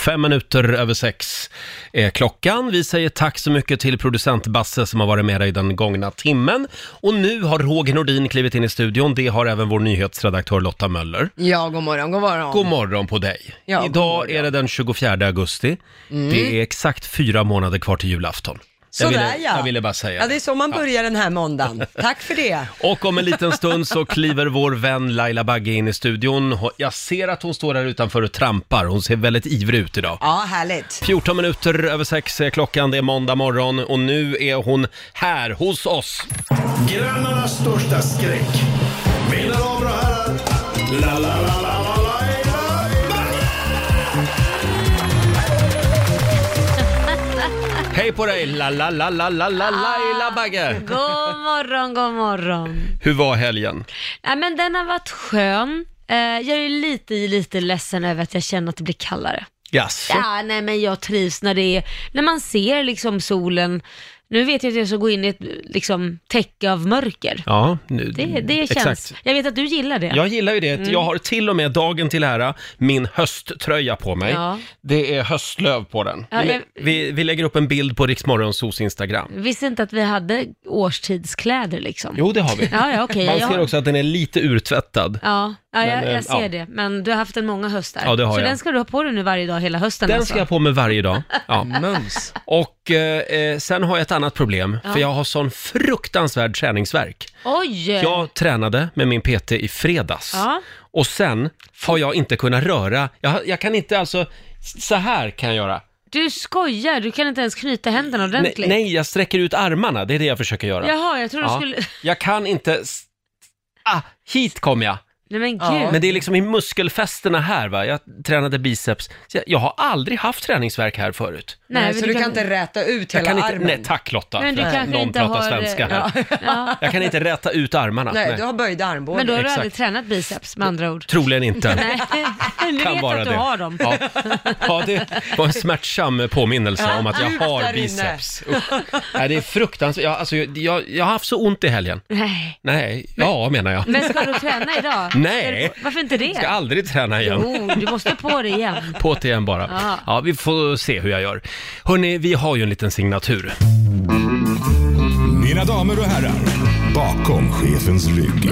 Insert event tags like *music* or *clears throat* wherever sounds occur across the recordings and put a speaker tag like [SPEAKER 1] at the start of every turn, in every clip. [SPEAKER 1] Fem minuter över sex är klockan. Vi säger tack så mycket till producent Basse som har varit med dig den gångna timmen. Och nu har Roger Nordin klivit in i studion. Det har även vår nyhetsredaktör Lotta Möller.
[SPEAKER 2] Ja, god morgon, god morgon.
[SPEAKER 1] God morgon på dig!
[SPEAKER 2] Ja, god
[SPEAKER 1] Idag
[SPEAKER 2] morgon. Mm.
[SPEAKER 1] är det den 24 augusti. Det är exakt fyra månader kvar till julafton. jag,
[SPEAKER 2] Sådär,
[SPEAKER 1] ville,
[SPEAKER 2] ja.
[SPEAKER 1] jag ville bara säga
[SPEAKER 2] Ja, det är så man börjar den här måndagen.
[SPEAKER 1] *laughs*
[SPEAKER 2] Tack för det.
[SPEAKER 1] Och om en liten stund
[SPEAKER 2] *laughs*
[SPEAKER 1] så kliver vår vän Laila Bagge in i studion. Jag ser att hon står här utanför och trampar. Hon ser väldigt ivrig ut idag.
[SPEAKER 2] Ja, härligt.
[SPEAKER 1] 14 minuter över sex är klockan, det är måndag morgon och nu är hon här hos oss.
[SPEAKER 3] Grannarnas största skräck. Mina damer och herrar. La, la, la, la, la, la, la, la.
[SPEAKER 1] Hej på dig, la la la la la la Laila Bagge!
[SPEAKER 4] God morgon, god morgon.
[SPEAKER 1] Hur var helgen?
[SPEAKER 4] Nej, men den har varit skön. Eh, jag är lite, lite ledsen över att jag känner att det blir kallare.
[SPEAKER 1] Jaså?
[SPEAKER 4] Ja, nej, men jag trivs när det är, när man ser liksom solen. Nu vet jag att jag ska gå in i ett liksom, täcke av mörker.
[SPEAKER 1] Ja, nu,
[SPEAKER 4] Det, det känns. Mm.
[SPEAKER 1] exakt.
[SPEAKER 4] Jag vet att du gillar det.
[SPEAKER 1] Jag gillar ju det. Jag har till och med dagen till ära min hösttröja på mig.
[SPEAKER 4] Ja.
[SPEAKER 1] Det är höstlöv på den.
[SPEAKER 4] Ja,
[SPEAKER 1] vi,
[SPEAKER 4] jag- Mm.
[SPEAKER 1] vi, vi lägger upp en bild på Riksmorgonsos Instagram.
[SPEAKER 4] Visste inte att vi hade årstidskläder liksom.
[SPEAKER 1] Jo, det har vi.
[SPEAKER 4] Ja, *laughs* ja, okej.
[SPEAKER 1] Man
[SPEAKER 4] jag-
[SPEAKER 1] ser också att den är lite urtvättad.
[SPEAKER 4] Ja, ja
[SPEAKER 1] Men, eh,
[SPEAKER 4] jag, jag ser
[SPEAKER 1] ja.
[SPEAKER 4] det. Men du har haft en många höstar.
[SPEAKER 1] Ja, det har
[SPEAKER 4] så
[SPEAKER 1] jag.
[SPEAKER 4] den ska du ha på dig nu varje dag hela hösten
[SPEAKER 1] Den
[SPEAKER 4] alltså.
[SPEAKER 1] ska jag på mig varje
[SPEAKER 4] *laughs*
[SPEAKER 1] dag. Ja.
[SPEAKER 5] Mums.
[SPEAKER 1] Och eh, eh, sen har jag ett annat problem,
[SPEAKER 4] Ja.
[SPEAKER 1] för jag har sån fruktansvärd träningsverk.
[SPEAKER 4] Oj!
[SPEAKER 1] Jag tränade med min PT i fredags
[SPEAKER 4] Eh. Ja.
[SPEAKER 1] och sen har jag inte kunnat röra, jag, har- jag kan inte alltså, så här kan jag göra.
[SPEAKER 4] Du skojar, du kan inte ens knyta händerna
[SPEAKER 1] Nej,
[SPEAKER 4] ordentligt.
[SPEAKER 1] nej, jag sträcker ut armarna, det är det jag försöker göra.
[SPEAKER 4] Jaha, jag tror du
[SPEAKER 1] Ja.
[SPEAKER 4] skulle...
[SPEAKER 1] Jag kan inte, s- ah, hit kom jag.
[SPEAKER 4] Nej men gud.
[SPEAKER 5] Ja.
[SPEAKER 1] Men det är liksom i muskelfästena här va, jag tränade biceps. Så jag, jag har aldrig haft träningsverk här förut.
[SPEAKER 2] Nej,
[SPEAKER 4] men
[SPEAKER 2] så du kan inte räta ut hela
[SPEAKER 1] jag kan inte,
[SPEAKER 2] armen?
[SPEAKER 1] Nej, tack Lotta,
[SPEAKER 4] Men du
[SPEAKER 1] för att
[SPEAKER 4] kanske
[SPEAKER 1] någon
[SPEAKER 4] inte
[SPEAKER 1] pratar
[SPEAKER 4] har- eh,
[SPEAKER 1] svenska här.
[SPEAKER 4] Ja.
[SPEAKER 1] *laughs* Jag kan inte räta ut armarna.
[SPEAKER 2] Nej,
[SPEAKER 1] Nej.
[SPEAKER 2] du har böjda armbågar.
[SPEAKER 4] Men då har du
[SPEAKER 1] Exakt.
[SPEAKER 4] aldrig tränat biceps med
[SPEAKER 2] *laughs*
[SPEAKER 4] andra ord.
[SPEAKER 1] Troligen inte.
[SPEAKER 4] Nej, nu
[SPEAKER 1] Kan
[SPEAKER 4] vet
[SPEAKER 1] vara
[SPEAKER 4] att du
[SPEAKER 1] det.
[SPEAKER 4] har dem.
[SPEAKER 1] Ja. ja, det var en smärtsam påminnelse om att jag
[SPEAKER 2] djupt
[SPEAKER 1] har
[SPEAKER 2] där inne.
[SPEAKER 1] biceps. Usch. Nej, det är fruktansvärt. Jag, alltså, jag- jag, jag har haft så ont i helgen.
[SPEAKER 4] Nej.
[SPEAKER 1] Nej, ja menar jag.
[SPEAKER 4] Men ska du träna
[SPEAKER 2] *laughs*
[SPEAKER 4] idag?
[SPEAKER 1] Nej.
[SPEAKER 4] Ska du- Varför inte det?
[SPEAKER 1] Jag ska aldrig träna igen.
[SPEAKER 4] Jo, du måste på det igen.
[SPEAKER 1] På till igen bara.
[SPEAKER 4] Ja.
[SPEAKER 1] Ja, vi får se hur jag gör. Hörni, vi har ju en liten signatur.
[SPEAKER 3] Mina damer och herrar. Bakom chefens rygg.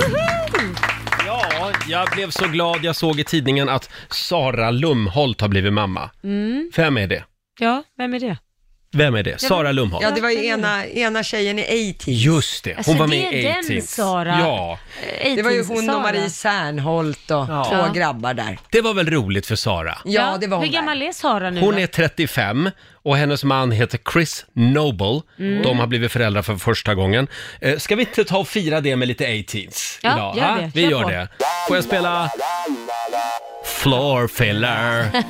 [SPEAKER 1] Ja, jag blev så glad jag såg i tidningen att Sara Lumholt har blivit mamma.
[SPEAKER 4] Mm.
[SPEAKER 1] Vem är det?
[SPEAKER 4] Ja, vem är det?
[SPEAKER 1] Vem är det? Sara Lumholt.
[SPEAKER 2] Ja, det var ju ena, ena tjejen i A-Team.
[SPEAKER 1] Just det, hon
[SPEAKER 4] Alltså,
[SPEAKER 1] var
[SPEAKER 4] det
[SPEAKER 1] med
[SPEAKER 4] är
[SPEAKER 1] i
[SPEAKER 4] den
[SPEAKER 1] A-Team.
[SPEAKER 4] Sara.
[SPEAKER 1] Ja,
[SPEAKER 4] Eh,
[SPEAKER 2] Det var ju
[SPEAKER 4] 18s
[SPEAKER 2] hon
[SPEAKER 4] Sara.
[SPEAKER 2] och Marie Serneholt och
[SPEAKER 4] Ja.
[SPEAKER 2] två grabbar där.
[SPEAKER 1] det var väl roligt för Sara.
[SPEAKER 2] Ja, det var hon
[SPEAKER 4] Hur gammal är Sara nu
[SPEAKER 1] Hon
[SPEAKER 4] då?
[SPEAKER 1] är 35 och hennes man heter Chris Noble.
[SPEAKER 4] Mm.
[SPEAKER 1] De har blivit föräldrar för första gången. Eh, Ska vi inte ta och fira det med lite 18s
[SPEAKER 4] Ja,
[SPEAKER 1] idag?
[SPEAKER 4] gör
[SPEAKER 1] ha?
[SPEAKER 4] det.
[SPEAKER 1] Vi
[SPEAKER 4] Kör
[SPEAKER 1] gör
[SPEAKER 4] på.
[SPEAKER 1] det. Får jag spela Floor Filler?
[SPEAKER 4] *laughs*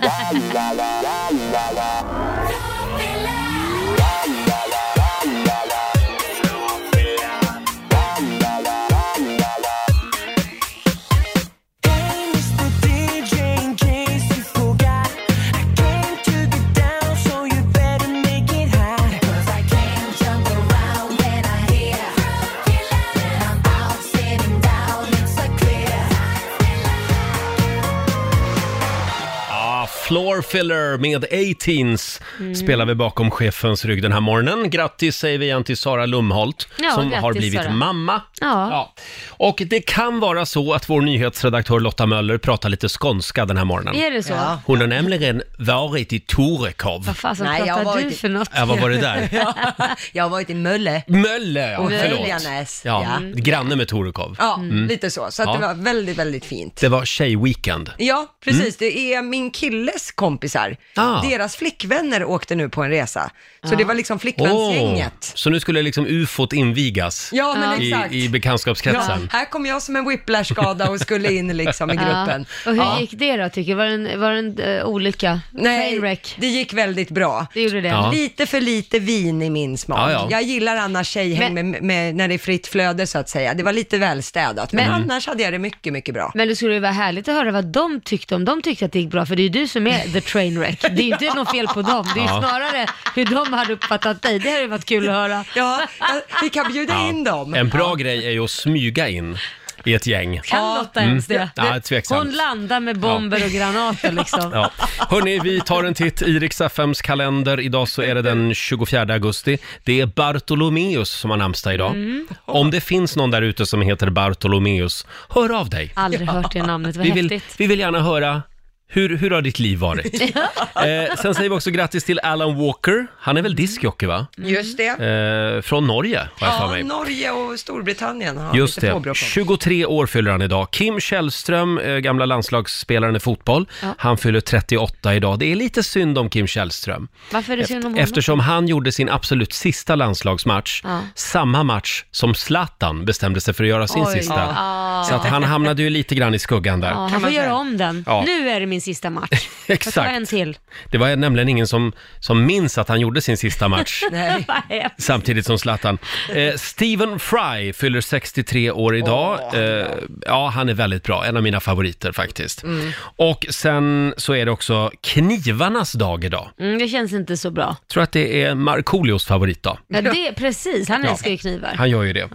[SPEAKER 1] Ah, Floor Filler med 18s
[SPEAKER 4] Mm.
[SPEAKER 1] spelar vi bakom chefens rygg den här morgonen. Grattis säger vi igen till Sara Lumholt
[SPEAKER 4] Ja,
[SPEAKER 1] som
[SPEAKER 4] grattis,
[SPEAKER 1] har blivit
[SPEAKER 4] Sara.
[SPEAKER 1] mamma.
[SPEAKER 4] Ja.
[SPEAKER 1] Och det kan vara så att vår nyhetsredaktör Lotta Möller pratar lite skånska den här morgonen.
[SPEAKER 4] Är det så?
[SPEAKER 2] Ja.
[SPEAKER 1] Hon har nämligen varit i Torekov.
[SPEAKER 4] Vad fasen
[SPEAKER 2] Nej, jag
[SPEAKER 4] pratar
[SPEAKER 2] har
[SPEAKER 4] du
[SPEAKER 2] varit-
[SPEAKER 4] för något?
[SPEAKER 1] Ja, vad var det
[SPEAKER 2] *laughs*
[SPEAKER 1] där?
[SPEAKER 2] där. Jag har varit i Mölle.
[SPEAKER 1] Mölle, ja,
[SPEAKER 2] Och
[SPEAKER 1] förlåt.
[SPEAKER 2] Höljanäs,
[SPEAKER 1] Ja, mm.
[SPEAKER 2] ja.
[SPEAKER 1] granne med Torekov.
[SPEAKER 2] Ja, lite så. Så att
[SPEAKER 1] Mm. Ja.
[SPEAKER 2] det var väldigt, väldigt fint.
[SPEAKER 1] Det var tjejweekend.
[SPEAKER 2] Ja, precis. Det är min killes kompisar.
[SPEAKER 1] Mm. Ah.
[SPEAKER 2] Deras flickvänner åkte nu på en resa. Så
[SPEAKER 4] Ah.
[SPEAKER 2] det var liksom
[SPEAKER 1] Åh,
[SPEAKER 2] flickvänsgänget.
[SPEAKER 1] så nu skulle liksom ufot invigas
[SPEAKER 2] Ja, men
[SPEAKER 1] i,
[SPEAKER 2] exakt.
[SPEAKER 1] i
[SPEAKER 2] ja,
[SPEAKER 1] bekantskapskretsen.
[SPEAKER 2] här kom jag som en whiplash-skada och skulle in liksom i gruppen.
[SPEAKER 4] Ja. Och hur
[SPEAKER 1] Ja.
[SPEAKER 4] gick det då tycker du? Var det en, var det en eh, olycka?
[SPEAKER 2] Nej,
[SPEAKER 4] Trainwreck?
[SPEAKER 2] det gick väldigt bra.
[SPEAKER 4] Det gjorde det?
[SPEAKER 1] Ja.
[SPEAKER 2] Lite för lite vin i min smak.
[SPEAKER 1] Ja, ja.
[SPEAKER 2] Jag gillar annars tjejhäng med, med, när det är fritt flöde så att säga. Det var lite välstädat, men annars hade jag det mycket, mycket bra.
[SPEAKER 4] Men det skulle ju vara härligt att höra vad de tyckte, om de tyckte att det gick bra, för det är ju du som är the trainwreck. Det är ju inte något fel på dem, det är ju
[SPEAKER 1] Ja.
[SPEAKER 4] snarare hur de hade uppfattat dig. Det hade ju varit kul att höra.
[SPEAKER 2] Ja, jag- vi kan bjuda in dem.
[SPEAKER 1] En bra grej är ju att smyga in i ett gäng.
[SPEAKER 4] Kan Lotta ens det?
[SPEAKER 1] Mm. Ja, tveksamt.
[SPEAKER 4] Hon landar med bomber och granater liksom.
[SPEAKER 1] Ja. Hörni, vi tar en titt i Rix FMs kalender. Idag så är det den 24 augusti. Det är Bartolomeus som har namnsdag idag.
[SPEAKER 4] Mm.
[SPEAKER 1] Om det finns någon där ute som heter Bartolomeus, hör av dig.
[SPEAKER 4] Aldrig hört det namnet, vad
[SPEAKER 1] Vi vill,
[SPEAKER 4] häftigt.
[SPEAKER 1] vi vill gärna höra hur, hur har ditt liv varit?
[SPEAKER 4] *laughs*
[SPEAKER 1] eh, sen säger vi också grattis till Alan Walker. Han är väl diskjockey va?
[SPEAKER 2] Just det.
[SPEAKER 1] Eh, från Norge har jag för
[SPEAKER 2] Ja,
[SPEAKER 1] mig.
[SPEAKER 2] Norge och Storbritannien har
[SPEAKER 1] Just
[SPEAKER 2] lite
[SPEAKER 1] det.
[SPEAKER 2] påbråk om.
[SPEAKER 1] 23 år fyller han idag. Kim Källström, eh, gamla landslagsspelaren i fotboll, han fyller 38 idag. Det är lite synd om Kim Källström.
[SPEAKER 4] Varför är det synd om honom?
[SPEAKER 1] Eftersom han gjorde sin absolut sista landslagsmatch,
[SPEAKER 4] Ja.
[SPEAKER 1] samma match som Zlatan bestämde sig för att göra sin
[SPEAKER 4] Oj.
[SPEAKER 1] sista.
[SPEAKER 4] Ja.
[SPEAKER 1] Så att han hamnade ju lite grann i skuggan där.
[SPEAKER 4] Ja, han får
[SPEAKER 2] man
[SPEAKER 4] göra
[SPEAKER 2] säga.
[SPEAKER 4] om den.
[SPEAKER 1] Ja.
[SPEAKER 4] Nu är det min sista match. Jag
[SPEAKER 1] *laughs*
[SPEAKER 4] tar
[SPEAKER 1] Exakt.
[SPEAKER 4] en till.
[SPEAKER 1] Det var nämligen ingen som, som minns att han gjorde sin sista match
[SPEAKER 4] *laughs*
[SPEAKER 2] Nej.
[SPEAKER 4] Nej.
[SPEAKER 1] samtidigt som Zlatan. Eh, Stephen Fry fyller 63 år idag. eh, ja, han är väldigt bra. En av mina favoriter faktiskt. Och sen så är det också knivarnas dag idag.
[SPEAKER 4] Mm, det känns inte så bra.
[SPEAKER 1] Jag tror att det är Markoolios favoritdag.
[SPEAKER 4] Ja, det, precis, han älskar ju knivar.
[SPEAKER 1] Han gör ju det.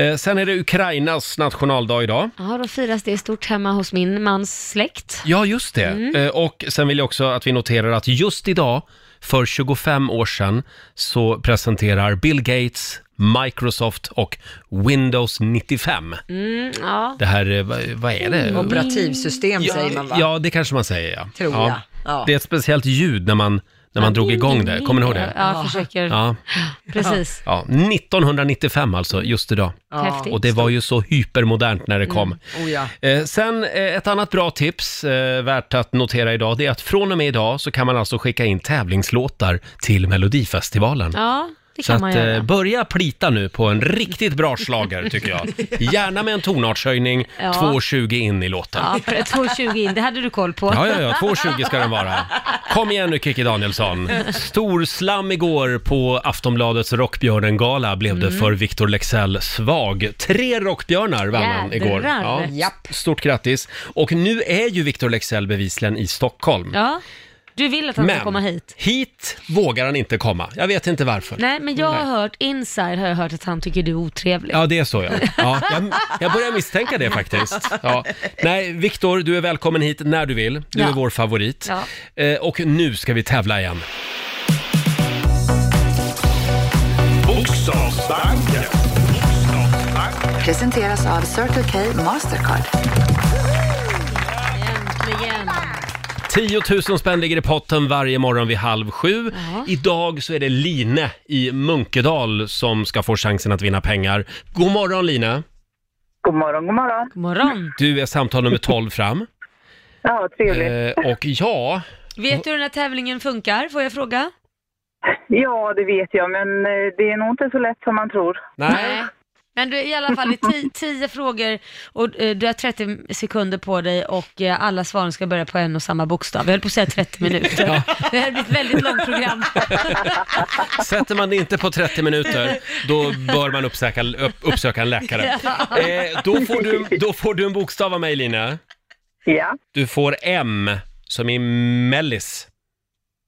[SPEAKER 1] Eh, sen är det Ukrainas nationaldag idag.
[SPEAKER 4] Ja, då firas det stort hemma hos min mans släkt.
[SPEAKER 1] Ja, just det. Eh, och sen vill jag också att vi noterar att just idag, för 25 år sedan, så presenterar Bill Gates, Microsoft och Windows 95.
[SPEAKER 4] Mm, ja.
[SPEAKER 1] Det här, eh, vad, vad är det?
[SPEAKER 2] Mm. Operativsystem säger man va?
[SPEAKER 1] Ja, det kanske man säger ja.
[SPEAKER 2] Tror
[SPEAKER 1] ja.
[SPEAKER 2] jag. Ja.
[SPEAKER 1] Det är ett speciellt ljud när man, när man drog igång det, kommer ni ihåg det?
[SPEAKER 4] Ja, jag försöker.
[SPEAKER 1] Ja.
[SPEAKER 4] Precis.
[SPEAKER 1] ja. 1995 alltså, just idag.
[SPEAKER 4] Häftigt.
[SPEAKER 1] Och det var ju så hypermodernt när det
[SPEAKER 4] Mm.
[SPEAKER 1] kom.
[SPEAKER 2] Oh, ja.
[SPEAKER 1] Eh, sen eh, ett annat bra tips eh, värt att notera idag, det är att från och med idag så kan man alltså skicka in tävlingslåtar till Melodifestivalen.
[SPEAKER 4] Ja, det
[SPEAKER 1] Så
[SPEAKER 4] kan man
[SPEAKER 1] att eh,
[SPEAKER 4] göra.
[SPEAKER 1] börja plita nu på en riktigt bra slager tycker
[SPEAKER 4] *laughs*
[SPEAKER 1] jag. Gärna med en tonartshöjning,
[SPEAKER 4] Ja.
[SPEAKER 1] 2.20 in i låten.
[SPEAKER 4] Ja, för 2,20 in, det hade du koll på.
[SPEAKER 1] Ja, ja, ja. 2,20 ska den vara. Kom igen nu Kikki Danielsson. Storslam igår på Aftonbladets Rockbjörnen-gala blev
[SPEAKER 4] Mm.
[SPEAKER 1] det för Victor Lexell Svag. Tre Rockbjörnar vann han
[SPEAKER 4] Jädrar.
[SPEAKER 1] igår.
[SPEAKER 2] Japp.
[SPEAKER 1] Stort grattis. Och nu är ju Victor Lexell bevisligen i Stockholm.
[SPEAKER 4] Ja. Du vill att han ska komma hit?
[SPEAKER 1] hit vågar han inte komma. Jag vet inte varför.
[SPEAKER 4] Nej, men jag har hört, inside har jag hört att han tycker du är otrevlig.
[SPEAKER 1] Ja, det är så ja. ja jag, jag börjar misstänka det faktiskt. Ja. Nej, Viktor, du är välkommen hit när du vill. Du
[SPEAKER 4] Ja.
[SPEAKER 1] är vår favorit.
[SPEAKER 4] Ja.
[SPEAKER 1] Eh, och nu ska vi tävla igen.
[SPEAKER 3] Bokstavsbanken.
[SPEAKER 5] Presenteras av Circle K Mastercard.
[SPEAKER 4] Äntligen.
[SPEAKER 1] 10 000 spänn ligger i potten varje morgon vid halv sju. Idag så är det Line i Munkedal som ska få chansen att vinna pengar. God morgon Line!
[SPEAKER 6] God morgon, god morgon.
[SPEAKER 4] God morgon.
[SPEAKER 1] Du är samtal nummer 12 fram.
[SPEAKER 6] Ja, trevligt.
[SPEAKER 1] Eh, och ja,
[SPEAKER 4] Vet du hur den här tävlingen funkar? Får jag fråga?
[SPEAKER 6] Ja, det vet jag, men eh, det är nog inte så lätt som man tror.
[SPEAKER 1] nej.
[SPEAKER 4] Men du är i alla fall
[SPEAKER 1] *laughs*
[SPEAKER 4] i ti- tio frågor och eh, du har 30 sekunder på dig och eh, alla svaren ska börja på en och samma bokstav. Jag höll på att säga 30 minuter. Det här blir ett väldigt långt program. *laughs*
[SPEAKER 1] Sätter man det inte på 30 minuter, då bör man uppsöka, upp, uppsöka en läkare. Eh, då, får du, då får du en bokstav av mig Line.
[SPEAKER 6] Ja,
[SPEAKER 1] Du får M, som i mellis.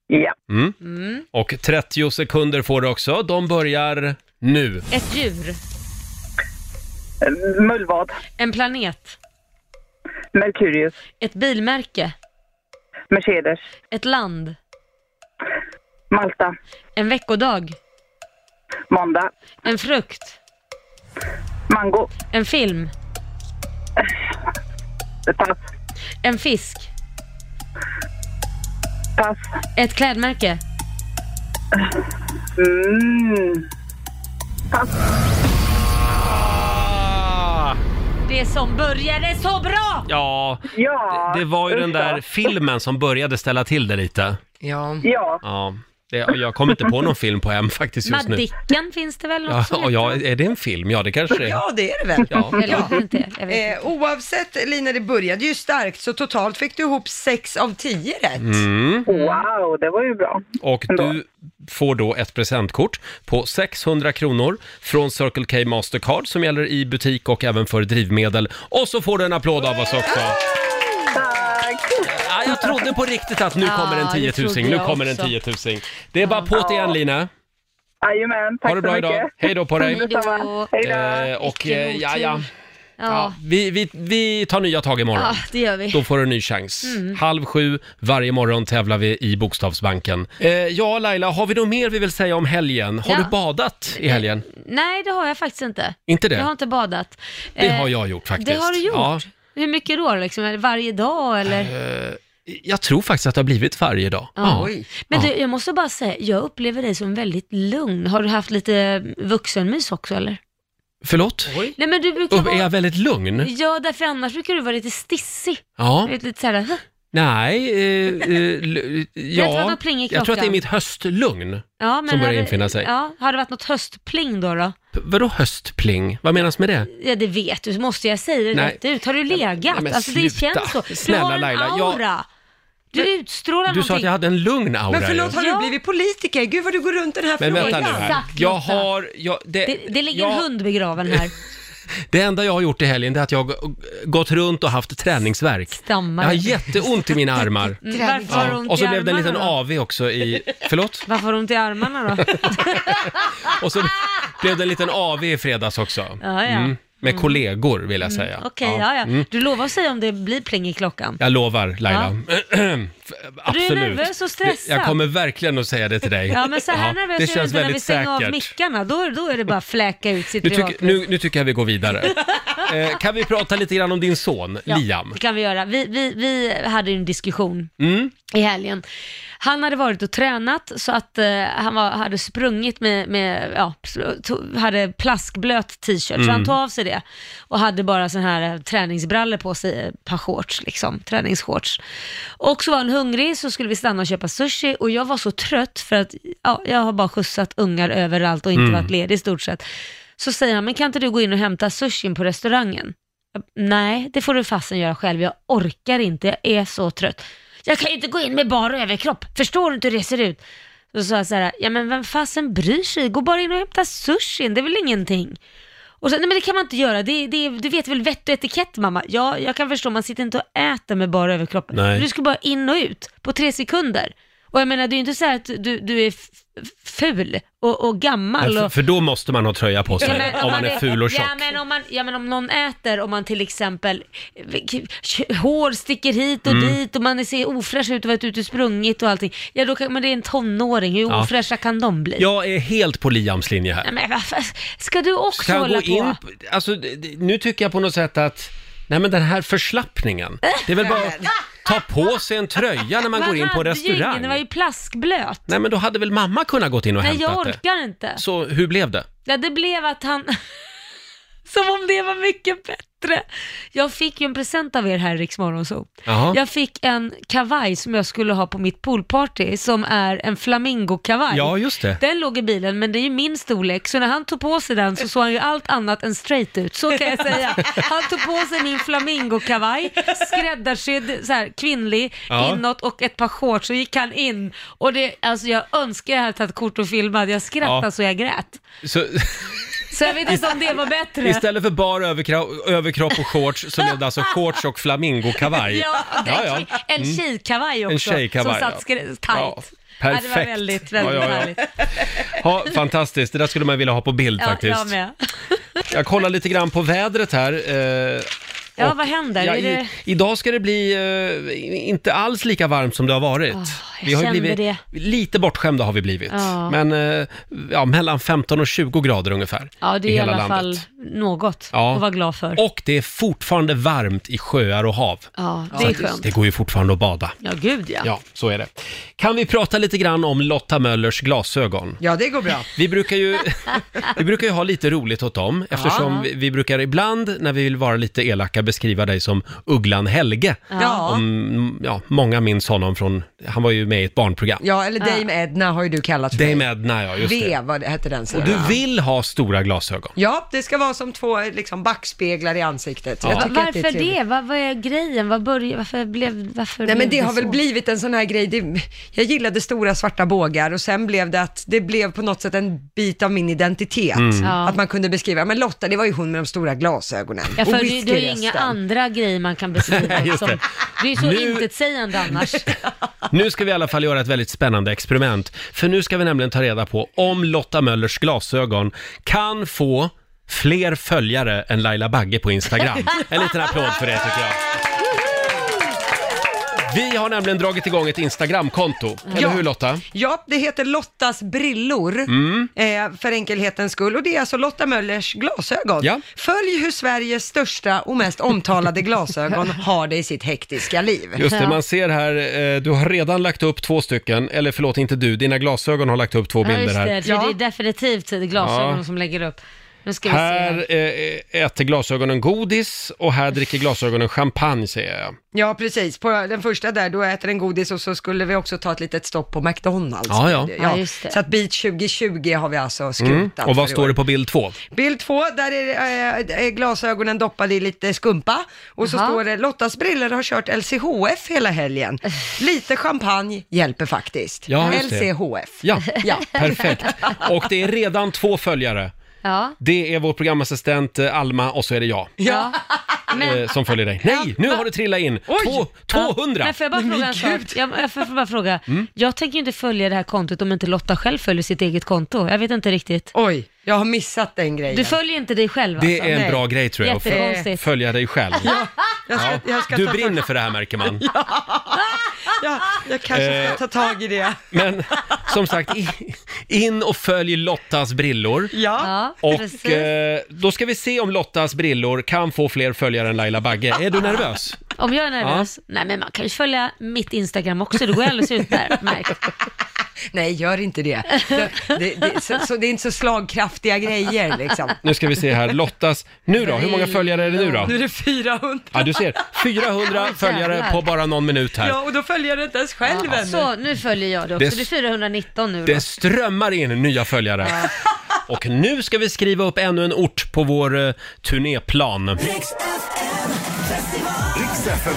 [SPEAKER 6] ja.
[SPEAKER 1] Mm. Och 30 sekunder får du också. De börjar nu.
[SPEAKER 4] Ett djur,
[SPEAKER 6] Eh, Mullvad,
[SPEAKER 4] en planet,
[SPEAKER 6] Merkurius,
[SPEAKER 4] ett bilmärke,
[SPEAKER 6] Mercedes,
[SPEAKER 4] ett land,
[SPEAKER 6] Malta,
[SPEAKER 4] en veckodag,
[SPEAKER 6] Måndag,
[SPEAKER 4] en frukt,
[SPEAKER 6] Mango,
[SPEAKER 4] en film,
[SPEAKER 6] Pass,
[SPEAKER 4] en fisk,
[SPEAKER 6] Pass,
[SPEAKER 4] ett klädmärke.
[SPEAKER 6] mm.
[SPEAKER 1] Ah,
[SPEAKER 4] Det som började så bra!
[SPEAKER 1] ja,
[SPEAKER 6] Ja,
[SPEAKER 1] det var ju den
[SPEAKER 6] usch
[SPEAKER 1] där
[SPEAKER 6] då.
[SPEAKER 1] filmen som började ställa till det lite.
[SPEAKER 2] Ja.
[SPEAKER 6] Ja,
[SPEAKER 1] Ja, det, jag kommer inte på någon film på M faktiskt just nu.
[SPEAKER 4] Madicken finns det väl
[SPEAKER 1] Ja,
[SPEAKER 4] något som
[SPEAKER 1] och ja,
[SPEAKER 4] heter?
[SPEAKER 1] är det en film? Ja, det kanske det är.
[SPEAKER 2] ja, det är det väl.
[SPEAKER 1] Ja.
[SPEAKER 4] Eller är det inte det? Jag vet inte.
[SPEAKER 2] Eh, oavsett Lina, det började ju starkt så totalt fick du ihop 6 av 10 rätt.
[SPEAKER 1] Mm.
[SPEAKER 6] wow, det var ju bra.
[SPEAKER 1] Och du får då ett presentkort på 600 kronor från Circle K Mastercard som gäller i butik och även för drivmedel. Och så får du en applåd av oss också.
[SPEAKER 6] Tack!
[SPEAKER 1] Ja, jag trodde på riktigt att nu
[SPEAKER 4] Ja,
[SPEAKER 1] kommer en
[SPEAKER 4] det
[SPEAKER 1] 10 000.
[SPEAKER 4] trodde
[SPEAKER 1] Nu
[SPEAKER 4] jag
[SPEAKER 1] kommer en
[SPEAKER 4] också.
[SPEAKER 1] 10 000. Det är bara på igen Lina.
[SPEAKER 6] Jajamän, tack
[SPEAKER 1] Ha det bra
[SPEAKER 6] så mycket. Mm.
[SPEAKER 1] idag. Hej då på dig.
[SPEAKER 4] Hej då.
[SPEAKER 6] Detsamma. Hej då.
[SPEAKER 1] Eh, och eh, ja, ja.
[SPEAKER 4] Ja, Ah,
[SPEAKER 1] Vi, vi, vi tar nya tag imorgon.
[SPEAKER 4] ja det gör vi.
[SPEAKER 1] Då får du en ny chans.
[SPEAKER 4] Mm.
[SPEAKER 1] Halv sju varje morgon tävlar vi i Bokstavsbanken. Eh, ja, Laila, har vi något mer vi vill säga om helgen? Har
[SPEAKER 4] Ja.
[SPEAKER 1] du badat i helgen?
[SPEAKER 4] Nej, det har jag faktiskt inte.
[SPEAKER 1] Inte det?
[SPEAKER 4] Jag har inte badat.
[SPEAKER 1] Det
[SPEAKER 4] Eh,
[SPEAKER 1] har jag gjort faktiskt.
[SPEAKER 4] Det har du gjort?
[SPEAKER 1] Ja,
[SPEAKER 4] Hur mycket då? Liksom? Är det Varje dag eller?
[SPEAKER 1] Eh, jag tror faktiskt att det har blivit varje dag. Ja.
[SPEAKER 2] Oj.
[SPEAKER 4] Men du, jag måste bara säga, jag upplever dig som väldigt lugn. Har du haft lite vuxenmys också eller?
[SPEAKER 1] Förlåt?
[SPEAKER 4] Nej men du brukar
[SPEAKER 1] Upp, är jag
[SPEAKER 4] vara...
[SPEAKER 1] väldigt lugn?
[SPEAKER 4] Ja, därför annars brukar du vara lite stissig.
[SPEAKER 1] Ja.
[SPEAKER 4] Du vet, Lite såhär, "Huh?"
[SPEAKER 1] Nej, eh, eh, l-
[SPEAKER 4] *laughs* Jag tror att
[SPEAKER 1] ja.
[SPEAKER 4] det pling i
[SPEAKER 1] Jag tror att det är
[SPEAKER 4] klockan.
[SPEAKER 1] mitt höstlugn.
[SPEAKER 4] ja, men
[SPEAKER 1] Som börjar
[SPEAKER 4] har det-
[SPEAKER 1] infinna sig.
[SPEAKER 4] Ja, har det varit något höstpling då? då?
[SPEAKER 1] P- Vadå höstpling? Vad menas med det?
[SPEAKER 4] Ja, det vet du. Måste jag säga det
[SPEAKER 1] Nej.
[SPEAKER 4] rätt ut? Har du legat?
[SPEAKER 1] Nej, men
[SPEAKER 4] alltså det
[SPEAKER 1] sluta.
[SPEAKER 4] känns så. Du
[SPEAKER 1] Snälla,
[SPEAKER 4] har en
[SPEAKER 1] Laila, jag-
[SPEAKER 4] aura. Du utstrålar
[SPEAKER 1] Du sa att
[SPEAKER 4] någonting.
[SPEAKER 1] jag hade en lugn aura.
[SPEAKER 2] Men förlåt,
[SPEAKER 1] ju.
[SPEAKER 2] har du
[SPEAKER 4] Ja.
[SPEAKER 2] blivit politiker? Gud vad du går runt den här
[SPEAKER 1] men
[SPEAKER 2] frågan.
[SPEAKER 1] vänta nu här.
[SPEAKER 4] Exakt,
[SPEAKER 1] Jag
[SPEAKER 4] Lotta.
[SPEAKER 1] har... Jag, det,
[SPEAKER 4] Det, det ligger
[SPEAKER 1] jag-
[SPEAKER 4] en hund begraven här. Mm.
[SPEAKER 1] Det enda jag har gjort i helgen det är att jag har gått runt och haft träningsvärk.
[SPEAKER 4] Stammar.
[SPEAKER 1] Jag har jätteont i mina
[SPEAKER 4] *laughs*
[SPEAKER 1] armar.
[SPEAKER 4] Mm, Varför har du
[SPEAKER 1] Ja.
[SPEAKER 4] ont
[SPEAKER 1] Och så
[SPEAKER 4] i
[SPEAKER 1] blev det en
[SPEAKER 4] armarna
[SPEAKER 1] liten
[SPEAKER 4] då?
[SPEAKER 1] AV också i... Förlåt?
[SPEAKER 4] Varför har du ont i
[SPEAKER 1] *laughs*
[SPEAKER 4] armarna då?
[SPEAKER 1] Och så blev det en liten AV i fredags också. Mm.
[SPEAKER 4] Ja, ja.
[SPEAKER 1] Med kollegor vill jag säga.
[SPEAKER 4] Okej, ja, ja.
[SPEAKER 1] Mm.
[SPEAKER 4] Du lovar att säga om det blir pling i klockan.
[SPEAKER 1] Jag lovar Laila. *clears throat* Absolut.
[SPEAKER 4] Du är nervös och stressad.
[SPEAKER 1] Jag kommer verkligen att säga det till dig.
[SPEAKER 4] Ja, men så här
[SPEAKER 1] Ja,
[SPEAKER 4] nervös
[SPEAKER 1] det
[SPEAKER 4] är jag
[SPEAKER 1] känns
[SPEAKER 4] inte när vi
[SPEAKER 1] väldigt
[SPEAKER 4] stänger av
[SPEAKER 1] säkert.
[SPEAKER 4] mickarna. Då, då är det bara att fläka ut sitt
[SPEAKER 1] Nu, tycker-
[SPEAKER 4] privatliv.
[SPEAKER 1] nu, nu tycker jag vi går vidare.
[SPEAKER 4] *laughs*
[SPEAKER 1] eh, kan vi prata lite grann om din son,
[SPEAKER 4] Ja,
[SPEAKER 1] Liam?
[SPEAKER 4] det kan vi göra. Vi, vi, vi hade ju en diskussion i helgen. Han hade varit och tränat så att eh, han var, hade sprungit med, med ja, to, hade plaskblöt t-shirt, så han tog av sig det och hade bara sån här eh, träningsbrallor på sig, eh, ett par shorts liksom, träningsshorts. Och så var han hungrig så skulle vi stanna och köpa sushi och jag var så trött för att ja, jag har bara skjutsat ungar överallt och inte varit ledig i stort sett. Så säger han, men kan inte du gå in och hämta sushin på restaurangen? Nej, det får du fasen göra själv. Jag orkar inte, jag är så trött. Jag kan ju inte gå in med bara överkropp, förstår du inte hur det ser ut? Så sa jag så här, ja men vem fasen bryr sig? Gå bara in och hämta sushin, det är väl ingenting. Och så, nej men det kan man inte göra, det, det, du vet väl vett och etikett mamma? Ja, jag kan förstå, man sitter inte och äter med bara överkroppen.
[SPEAKER 1] Nej.
[SPEAKER 4] Men Du ska bara in och ut på tre sekunder. Och jag menar, det är ju inte så här att du, du är f- ful och, och gammal.
[SPEAKER 1] För,
[SPEAKER 4] och,
[SPEAKER 1] för då måste man ha tröja på sig,
[SPEAKER 4] Ja, men
[SPEAKER 1] om man är ful och tjock.
[SPEAKER 4] Ja men, om man, ja men om någon äter, om man till exempel, eh, k- hår sticker hit och
[SPEAKER 1] Mm.
[SPEAKER 4] dit och man ser ofräsch ut och varit ute och sprungit och allting. Ja då kan, men det är en tonåring, hur
[SPEAKER 1] Ja.
[SPEAKER 4] ofräscha kan de bli?
[SPEAKER 1] Jag är helt på Liams linje här.
[SPEAKER 4] Nej, men vad fan, ska du också
[SPEAKER 1] Ska han gå
[SPEAKER 4] hålla på?
[SPEAKER 1] in... Alltså, d- d- nu tycker jag på något sätt att... Nej men den här förslappningen. Det är väl bara att ta på sig en tröja när man går in på
[SPEAKER 4] hade ju
[SPEAKER 1] restaurang.
[SPEAKER 4] Ingen, det var ju plaskblöt.
[SPEAKER 1] Nej men då hade väl mamma kunnat gått in och
[SPEAKER 4] Nej jag
[SPEAKER 1] hämtat det.
[SPEAKER 4] orkar inte.
[SPEAKER 1] Så hur blev det?
[SPEAKER 4] Ja, det blev att han... *laughs* Som om det var mycket bättre. Jag fick ju en present av er här i Rix Morgon Zoo.
[SPEAKER 1] Jaha.
[SPEAKER 4] Jag fick en kavaj som jag skulle ha på mitt poolparty som är en flamingokavaj.
[SPEAKER 1] Ja, just det.
[SPEAKER 4] Den låg i bilen men det är ju min storlek så när han tog på sig den så såg han ju allt annat än straight ut. Så kan jag säga. Han tog på sig min flamingokavaj, skräddarsydd, så här, kvinnlig,
[SPEAKER 1] Ja.
[SPEAKER 4] inåt och ett par shorts så gick han in. Och det, alltså jag önskar jag hade tagit kort och filmat. Jag skrattade
[SPEAKER 1] Ja.
[SPEAKER 4] så jag grät.
[SPEAKER 1] Så,
[SPEAKER 4] Så jag vet inte om det var bättre.
[SPEAKER 1] istället för bara överkra- överkropp och shorts så blev det alltså shorts och flamingokavaj.
[SPEAKER 4] Ja,
[SPEAKER 1] Ja, ja.
[SPEAKER 4] En tjejkavaj också.
[SPEAKER 1] En tjejkavaj,
[SPEAKER 4] som satt
[SPEAKER 1] ja.
[SPEAKER 4] skri- tight.
[SPEAKER 1] Ja, perfekt.
[SPEAKER 4] Ja, det var väldigt, väldigt
[SPEAKER 1] Ja, ja, ja.
[SPEAKER 4] härligt.
[SPEAKER 1] Ja, fantastiskt, det där skulle man vilja ha på bild
[SPEAKER 4] Ja,
[SPEAKER 1] faktiskt. *laughs*
[SPEAKER 4] jag med.
[SPEAKER 1] Jag kollar lite grann på vädret här. eh,
[SPEAKER 4] Ja,
[SPEAKER 1] och-
[SPEAKER 4] vad händer?
[SPEAKER 1] Ja,
[SPEAKER 4] Är
[SPEAKER 1] i,
[SPEAKER 4] det...
[SPEAKER 1] Idag ska det bli eh, inte alls lika varmt som det har varit.
[SPEAKER 4] jag
[SPEAKER 1] vi har ju
[SPEAKER 4] kände
[SPEAKER 1] blivit,
[SPEAKER 4] det.
[SPEAKER 1] Lite bortskämda har vi blivit.
[SPEAKER 4] Ja.
[SPEAKER 1] Men eh, ja, mellan 15 och 20 grader ungefär
[SPEAKER 4] Ja, det är
[SPEAKER 1] i
[SPEAKER 4] i
[SPEAKER 1] hela
[SPEAKER 4] alla
[SPEAKER 1] landet.
[SPEAKER 4] fall något
[SPEAKER 1] Ja.
[SPEAKER 4] att vara glad för.
[SPEAKER 1] Och det är fortfarande varmt i sjöar och hav.
[SPEAKER 4] Ja, det är skönt.
[SPEAKER 1] Det går ju fortfarande att bada.
[SPEAKER 4] Ja, gud ja.
[SPEAKER 1] Ja, så är det. Kan vi prata lite grann om Lotta Möllers glasögon?
[SPEAKER 2] Ja, det går bra.
[SPEAKER 1] Vi brukar ju, vi brukar ju ha lite roligt åt dem eftersom vi, vi brukar ibland när vi vill vara lite elaka beskriva dig som Ugglan Helge.
[SPEAKER 2] Ja.
[SPEAKER 1] Om, ja, många minns honom från, han var ju med i ett barnprogram.
[SPEAKER 2] Ja, eller Dame Edna har ju du kallat för
[SPEAKER 1] Dame Edna, ja just
[SPEAKER 2] V,
[SPEAKER 1] det.
[SPEAKER 2] vad det hette den
[SPEAKER 1] Och
[SPEAKER 2] serien.
[SPEAKER 1] du vill ha stora glasögon.
[SPEAKER 2] Ja, det ska vara som två liksom, backspeglar i ansiktet.
[SPEAKER 1] Ja.
[SPEAKER 2] Jag tycker att
[SPEAKER 4] Varför
[SPEAKER 2] är trevligt.
[SPEAKER 4] det? Vad, vad är grejen? Vad började, varför blev, varför
[SPEAKER 2] Nej men
[SPEAKER 4] blev
[SPEAKER 2] det har väl
[SPEAKER 4] så?
[SPEAKER 2] blivit en sån här grej, det, jag gillade stora svarta bågar och sen blev det att det blev på något sätt en bit av min identitet.
[SPEAKER 4] Ja.
[SPEAKER 2] Att man kunde beskriva, men Lotta det var ju hon med de stora glasögonen.
[SPEAKER 4] Ja,
[SPEAKER 2] och
[SPEAKER 4] för det, det är ju inga
[SPEAKER 2] whiskyresten.
[SPEAKER 4] andra grejer man
[SPEAKER 1] *laughs*
[SPEAKER 4] kan beskriva
[SPEAKER 1] Just
[SPEAKER 4] det som.
[SPEAKER 1] det.
[SPEAKER 4] Det är ju så
[SPEAKER 1] Nu- *laughs*
[SPEAKER 4] intetsägande annars.
[SPEAKER 1] Nu ska vi i alla fall göra ett väldigt spännande experiment. För nu ska vi nämligen ta reda på om Lotta Möllers glasögon kan få fler följare än Laila Bagge på Instagram. En liten applåd för det tycker jag. Vi har nämligen dragit igång ett Instagramkonto, eller
[SPEAKER 2] Ja.
[SPEAKER 1] hur Lotta?
[SPEAKER 2] Ja, det heter Lottas brillor eh, för enkelhetens skull och det är alltså Lotta Möllers glasögon.
[SPEAKER 1] Ja.
[SPEAKER 2] Följ hur Sveriges största och mest omtalade glasögon har det i sitt hektiska liv.
[SPEAKER 1] Just det,
[SPEAKER 4] Ja.
[SPEAKER 1] man ser här, eh, du har redan lagt upp två stycken, eller förlåt inte du, dina glasögon har lagt upp två
[SPEAKER 4] Ja,
[SPEAKER 1] bilder
[SPEAKER 4] just det.
[SPEAKER 1] här.
[SPEAKER 4] Det
[SPEAKER 2] Ja.
[SPEAKER 4] är definitivt glasögon
[SPEAKER 1] Ja.
[SPEAKER 4] som lägger upp. Nu ska vi se.
[SPEAKER 1] Här eh, äter glasögonen godis och här dricker glasögonen champagne ser jag.
[SPEAKER 2] Ja, precis. På den första där, då äter en godis och så skulle vi också ta ett litet stopp på McDonalds.
[SPEAKER 1] Ja, ja. Mm.
[SPEAKER 4] Ja, just det.
[SPEAKER 2] Så att Beach 2020 har vi alltså skrotat
[SPEAKER 1] Och vad
[SPEAKER 2] för i
[SPEAKER 1] står
[SPEAKER 2] år.
[SPEAKER 1] det på bild två?
[SPEAKER 2] Bild två, där är det, eh, eh, glasögonen doppade i lite skumpa. Och så
[SPEAKER 4] Jaha.
[SPEAKER 2] står det, Lottas briller har kört LCHF hela helgen. Lite champagne hjälper faktiskt.
[SPEAKER 1] Ja, just det.
[SPEAKER 2] LCHF.
[SPEAKER 1] Ja,
[SPEAKER 2] Ja.
[SPEAKER 1] perfekt. Och det är redan två följare.
[SPEAKER 4] Ja.
[SPEAKER 1] Det är vår programassistent eh, Alma och så är det jag
[SPEAKER 4] Ja. Men,
[SPEAKER 1] eh, som följer dig. Nej, nu har det trillat in! Två, 200!
[SPEAKER 4] Men får jag bara fråga en sak? Jag, jag får, får bara fråga.
[SPEAKER 1] Mm.
[SPEAKER 4] Jag tänker ju inte följa det här kontot om inte Lotta själv följer sitt eget konto. Jag vet inte riktigt.
[SPEAKER 2] Oj, jag har missat den grejen.
[SPEAKER 4] Du följer inte dig själv
[SPEAKER 1] Det
[SPEAKER 4] alltså?
[SPEAKER 1] är en
[SPEAKER 2] nej.
[SPEAKER 1] bra grej tror jag, att fö-
[SPEAKER 4] Jättekonstigt.
[SPEAKER 1] följa dig själv.
[SPEAKER 2] jag ska, jag ska
[SPEAKER 1] Du
[SPEAKER 2] ta
[SPEAKER 1] brinner för det här märker
[SPEAKER 2] *laughs*
[SPEAKER 1] man.
[SPEAKER 2] Jag, jag kanske ska ta tag i
[SPEAKER 4] Eh.
[SPEAKER 2] det.
[SPEAKER 1] Men som sagt, i- in och följ Lottas brillor.
[SPEAKER 2] Ja.
[SPEAKER 4] Ja, precis.
[SPEAKER 1] Och eh, då ska vi se om Lottas brillor kan få fler följare än Laila Bagge. Är du nervös?
[SPEAKER 4] Om jag är nervös? Nej, men man kan ju följa mitt Instagram också. Det går ju
[SPEAKER 1] *laughs*
[SPEAKER 4] alldeles utmärkt.
[SPEAKER 2] Nej, gör inte det. Det, det, det, så, så det är inte så slagkraftiga grejer liksom.
[SPEAKER 1] Nu ska vi se här, Lottas... Nu då, hur många följare är det nu då?
[SPEAKER 2] Nu är det 400.
[SPEAKER 1] Ja, du
[SPEAKER 4] *laughs*
[SPEAKER 1] ser. 400 följare på bara någon minut här.
[SPEAKER 2] Ja, och då följer jag det inte ens själv ännu.
[SPEAKER 4] Så, nu följer jag det
[SPEAKER 1] Det-
[SPEAKER 4] också. Det är 419 nu då.
[SPEAKER 1] Det strömmar in nya följare. Och nu ska vi skriva upp ännu en ort på vår eh, turnéplan.
[SPEAKER 3] Riksfn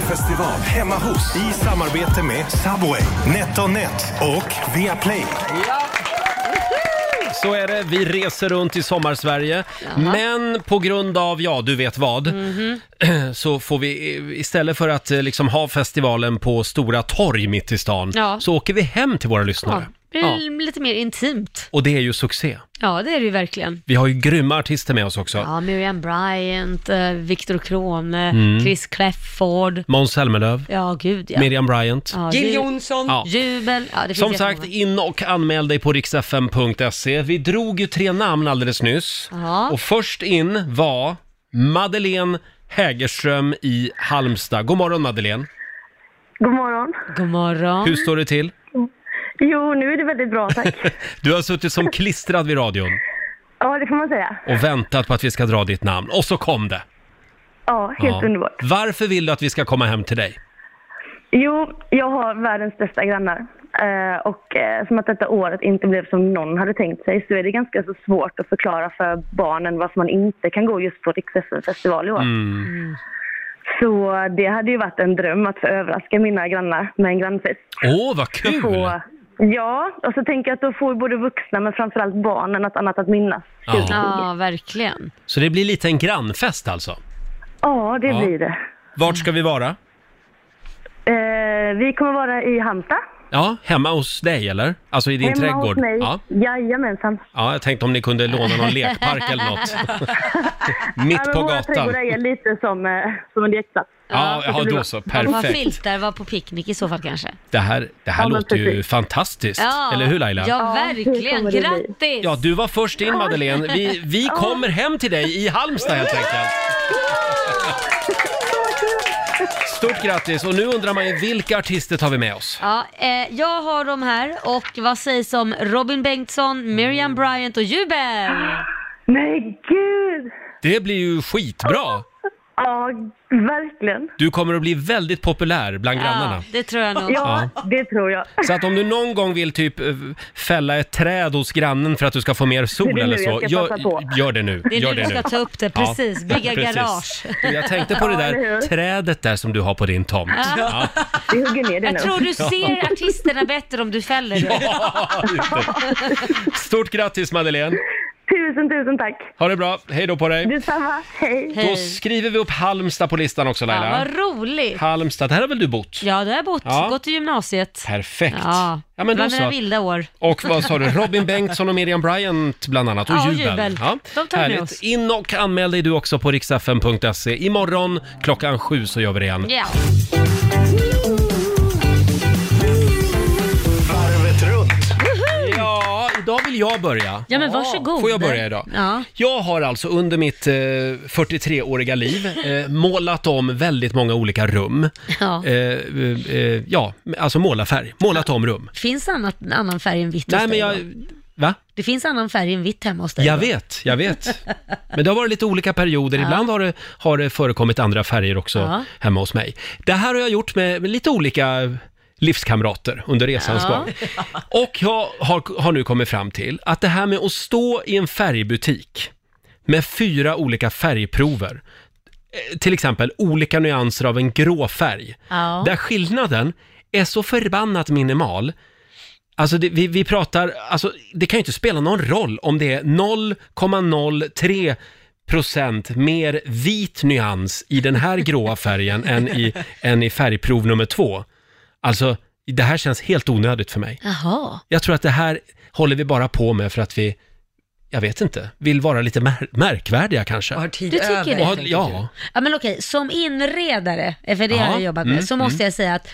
[SPEAKER 3] festival hemma hos i samarbete med Subway, NetOnNet och Viaplay.
[SPEAKER 1] Så är det, vi reser runt i sommarsverige. Men på grund av, ja du vet vad,
[SPEAKER 4] Mhm.
[SPEAKER 1] *clears throat* så får vi eh, istället för att eh, liksom ha festivalen på Stora torg mitt i stan,
[SPEAKER 4] Ja.
[SPEAKER 1] så åker vi hem till våra lyssnare.
[SPEAKER 4] Ja, det är lite mer intimt.
[SPEAKER 1] Och det är ju succé.
[SPEAKER 4] Ja, det är det ju verkligen.
[SPEAKER 1] Vi har ju grymma artister med oss också.
[SPEAKER 4] Ja, Miriam Bryant, eh, Victor Crone, Chris Clefford.
[SPEAKER 1] Måns Zelmerlöw,
[SPEAKER 4] Ja, gud ja.
[SPEAKER 1] Mm. Miriam Bryant.
[SPEAKER 4] ja
[SPEAKER 2] Jill
[SPEAKER 4] ju-
[SPEAKER 2] Johnson.
[SPEAKER 1] Ja.
[SPEAKER 4] Jubel. Ja, det finns
[SPEAKER 1] Som
[SPEAKER 4] jättemånga.
[SPEAKER 1] sagt, in och anmäl dig på riksfm.se. Vi drog ju tre namn alldeles nyss.
[SPEAKER 4] Ja.
[SPEAKER 1] Och först in var Madeleine Hägerström i Halmstad. God morgon Madeleine.
[SPEAKER 7] God morgon.
[SPEAKER 4] God morgon.
[SPEAKER 1] Hur står det till?
[SPEAKER 7] Jo, nu är det väldigt bra, tack.
[SPEAKER 1] *laughs* Du har suttit som klistrad vid radion
[SPEAKER 7] Ja, det får man säga.
[SPEAKER 1] och väntat på att vi ska dra ditt namn. Och så kom det!
[SPEAKER 7] Ja, helt
[SPEAKER 1] Ja.
[SPEAKER 7] underbart.
[SPEAKER 1] Varför vill du att vi ska komma hem till dig?
[SPEAKER 7] Jo, jag har världens bästa grannar. Eh, och eh, som att detta året inte blev som någon hade tänkt sig så är det ganska så svårt att förklara för barnen varför man inte kan gå just på riks festival i år.
[SPEAKER 1] Mm.
[SPEAKER 7] Så det hade ju varit en dröm att få överraska mina grannar med en grannfest.
[SPEAKER 1] Åh, vad
[SPEAKER 7] Och
[SPEAKER 1] kul!
[SPEAKER 7] få, ja, och så tänker jag att då får både vuxna men framförallt barnen något annat att minnas.
[SPEAKER 1] Ja.
[SPEAKER 4] Ja, verkligen.
[SPEAKER 1] Så det blir lite en grannfest alltså.
[SPEAKER 7] Ja, det
[SPEAKER 1] Ja.
[SPEAKER 7] blir det.
[SPEAKER 1] Vart ska vi vara?
[SPEAKER 7] Eh, vi kommer vara i Halmstad.
[SPEAKER 1] Ja, hemma hos dig eller? Alltså i din
[SPEAKER 7] Hemma
[SPEAKER 1] trädgård?
[SPEAKER 7] hos mig.
[SPEAKER 1] Ja.
[SPEAKER 7] Jajamensan.
[SPEAKER 1] ja, jag tänkte om ni kunde låna någon lekpark eller
[SPEAKER 7] *laughs*
[SPEAKER 1] något.
[SPEAKER 7] Ja,
[SPEAKER 1] Mitt
[SPEAKER 7] men
[SPEAKER 1] på
[SPEAKER 7] våra
[SPEAKER 1] gatan.
[SPEAKER 7] trädgårdar är lite som, eh, som en lekplats.
[SPEAKER 1] Ja, ja, då så.
[SPEAKER 4] Var
[SPEAKER 1] Perfekt.
[SPEAKER 4] filtar, var på picknick i så fall kanske.
[SPEAKER 1] Det här, det här
[SPEAKER 7] Ja, men
[SPEAKER 1] låter ju
[SPEAKER 7] precis.
[SPEAKER 1] fantastiskt. Eller hur Laila?
[SPEAKER 4] Ja,
[SPEAKER 7] Ja, det
[SPEAKER 4] verkligen.
[SPEAKER 7] kommer det bli.
[SPEAKER 4] Grattis!
[SPEAKER 1] Ja, du var först in Madeleine. Vi, vi kommer hem till dig i Halmstad helt enkelt. Stort grattis! Och nu undrar man ju vilka artister tar vi med oss?
[SPEAKER 4] Ja, eh, jag har dem här och vad sägs om Robin Bengtsson,
[SPEAKER 1] Mm.
[SPEAKER 4] Miriam Bryant och Jubel?
[SPEAKER 7] Nej, gud!
[SPEAKER 1] Det blir ju skitbra!
[SPEAKER 7] Ja, verkligen.
[SPEAKER 1] Du kommer att bli väldigt populär bland *gasps* grannarna.
[SPEAKER 4] Ja, det tror jag nog.
[SPEAKER 7] Ja, det tror jag.
[SPEAKER 1] Så att om du någon gång vill typ eh, fälla ett träd hos grannen för att du ska få mer sol
[SPEAKER 7] Det är nu
[SPEAKER 1] eller så,
[SPEAKER 7] jag ska
[SPEAKER 1] gör,
[SPEAKER 7] passa på.
[SPEAKER 1] gör det nu.
[SPEAKER 4] Det är
[SPEAKER 1] gör
[SPEAKER 4] nu du ska ta upp det, precis.
[SPEAKER 1] Ja,
[SPEAKER 4] Bygga
[SPEAKER 1] precis.
[SPEAKER 4] garage.
[SPEAKER 1] Du, Jag tänkte på det
[SPEAKER 7] eller
[SPEAKER 1] där
[SPEAKER 7] hur?
[SPEAKER 1] trädet där som du har på din tomt. Ja.
[SPEAKER 7] Vi hugger ner det nu.
[SPEAKER 4] Jag tror du ser
[SPEAKER 1] *laughs*
[SPEAKER 4] artisterna bättre om du fäller det.
[SPEAKER 1] Stort grattis Madeleine!
[SPEAKER 7] Tusen, tusen tack.
[SPEAKER 1] Ha det bra, hej då på dig.
[SPEAKER 7] Detsamma. Hej.
[SPEAKER 1] Då
[SPEAKER 4] Hej.
[SPEAKER 1] skriver vi upp Halmstad på listan också
[SPEAKER 4] Ja,
[SPEAKER 1] Laila.
[SPEAKER 4] vad roligt.
[SPEAKER 1] Halmstad, där har väl du bott?
[SPEAKER 4] Ja, där har jag bott.
[SPEAKER 1] Ja.
[SPEAKER 4] Gått i gymnasiet.
[SPEAKER 1] Perfekt.
[SPEAKER 4] Ja,
[SPEAKER 1] Ja, men då
[SPEAKER 4] det var mina
[SPEAKER 1] så.
[SPEAKER 4] vilda år.
[SPEAKER 1] Och vad sa du? Robin Bengtsson och Miriam Bryant bland annat. Och
[SPEAKER 4] Ja, och
[SPEAKER 1] Jubel.
[SPEAKER 4] Jubel. De tar vi med
[SPEAKER 1] Härligt.
[SPEAKER 4] oss.
[SPEAKER 1] In och anmäl dig du också på riksfm.se. Imorgon klockan sju så gör vi det igen.
[SPEAKER 4] Ja.
[SPEAKER 3] Varvet runt.
[SPEAKER 1] Ja, idag vill jag börja.
[SPEAKER 4] ja, men varsågod.
[SPEAKER 1] Får jag börja idag?
[SPEAKER 4] Ja.
[SPEAKER 1] Jag har alltså under mitt eh, 43-åriga liv eh, målat om väldigt många olika rum.
[SPEAKER 4] Ja.
[SPEAKER 1] Eh, eh, eh, ja, alltså målarfärg. Målat om rum.
[SPEAKER 4] Finns annat, annan färg än vitt hos
[SPEAKER 1] Nej, men
[SPEAKER 4] dig
[SPEAKER 1] jag...
[SPEAKER 4] då?
[SPEAKER 1] Va?
[SPEAKER 4] Det finns annan färg än vitt hemma hos dig?
[SPEAKER 1] Jag
[SPEAKER 4] då?
[SPEAKER 1] vet, jag vet. Men det har varit lite olika perioder. Ibland har det, har det förekommit andra färger också
[SPEAKER 4] Ja.
[SPEAKER 1] hemma hos mig. Det här har jag gjort med, med lite olika livskamrater under resans
[SPEAKER 4] Ja.
[SPEAKER 1] gång. Och jag har, har nu kommit fram till att det här med att stå i en färgbutik med fyra olika färgprover, eh, till exempel olika nyanser av en grå färg,
[SPEAKER 4] Ja.
[SPEAKER 1] där skillnaden är så förbannat minimal. Alltså det, vi, vi pratar, alltså det kan ju inte spela någon roll om det är 0,03 procent mer vit nyans i den här
[SPEAKER 4] *laughs*
[SPEAKER 1] gråa färgen än, i, än i färgprov nummer två. Alltså, det här känns helt onödigt för mig.
[SPEAKER 4] Jaha.
[SPEAKER 1] Jag tror att det här håller vi bara på med för att vi, jag vet inte, vill vara lite mär- märkvärdiga kanske.
[SPEAKER 2] Och har tid
[SPEAKER 4] Du tycker
[SPEAKER 2] över,
[SPEAKER 4] det?
[SPEAKER 1] Och ha-
[SPEAKER 2] tänker
[SPEAKER 1] ja,
[SPEAKER 4] Ja, men okej, som inredare, eh, för det
[SPEAKER 1] Ja,
[SPEAKER 4] har jag jobbat med,
[SPEAKER 1] mm,
[SPEAKER 4] så måste jag säga att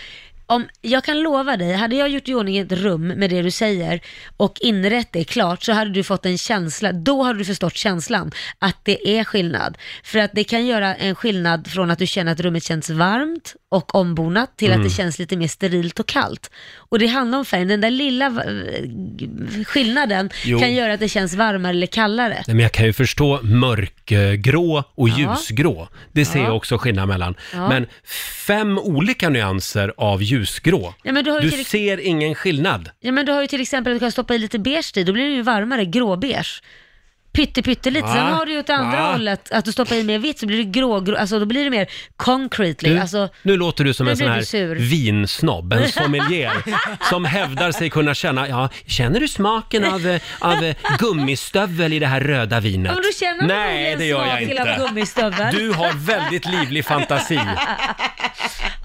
[SPEAKER 4] om, jag kan lova dig, hade jag gjort i ordning ett rum med det du säger och inrett det klart så hade du fått en känsla, då hade du förstått känslan att det är skillnad. För att det kan göra en skillnad från att du känner att rummet känns varmt och ombonat till
[SPEAKER 1] Mm.
[SPEAKER 4] att det känns lite mer sterilt och kallt. Och det handlar om färgen, den där lilla va- g- skillnaden
[SPEAKER 1] Jo.
[SPEAKER 4] kan göra att det känns varmare eller kallare.
[SPEAKER 1] Nej, men jag kan ju förstå mörkgrå och
[SPEAKER 4] Ja.
[SPEAKER 1] ljusgrå. Det ser jag också skillnad mellan.
[SPEAKER 4] Ja.
[SPEAKER 1] Men fem olika nyanser av ljusgrå.
[SPEAKER 4] Ja, men du har ju
[SPEAKER 1] Du
[SPEAKER 4] till-
[SPEAKER 1] ser ingen skillnad.
[SPEAKER 4] Ja men du har ju till exempel att du kan stoppa i lite beige i, då blir det ju varmare, gråbeige. Pytte, pytte lite. Sen
[SPEAKER 1] Va?
[SPEAKER 4] har du ju åt andra
[SPEAKER 1] Va?
[SPEAKER 4] hållet, att du stoppar i mer vitt så blir det grå, grå alltså då blir det mer concretely.
[SPEAKER 1] Du,
[SPEAKER 4] Alltså,
[SPEAKER 1] nu låter du som
[SPEAKER 4] nu
[SPEAKER 1] en
[SPEAKER 4] blir
[SPEAKER 1] sån
[SPEAKER 4] du
[SPEAKER 1] här
[SPEAKER 4] sur.
[SPEAKER 1] vinsnobb,
[SPEAKER 4] *laughs*
[SPEAKER 1] en sommelier, som hävdar sig kunna känna, ja, känner du smaken av, eh, av eh, gummistövel i det här röda vinet?
[SPEAKER 4] ja, men då känner man
[SPEAKER 1] Nej,
[SPEAKER 4] ju
[SPEAKER 1] det gör jag
[SPEAKER 4] smak till
[SPEAKER 1] inte.
[SPEAKER 4] av gummistövel.
[SPEAKER 1] Du har väldigt livlig
[SPEAKER 4] *laughs*
[SPEAKER 1] fantasi.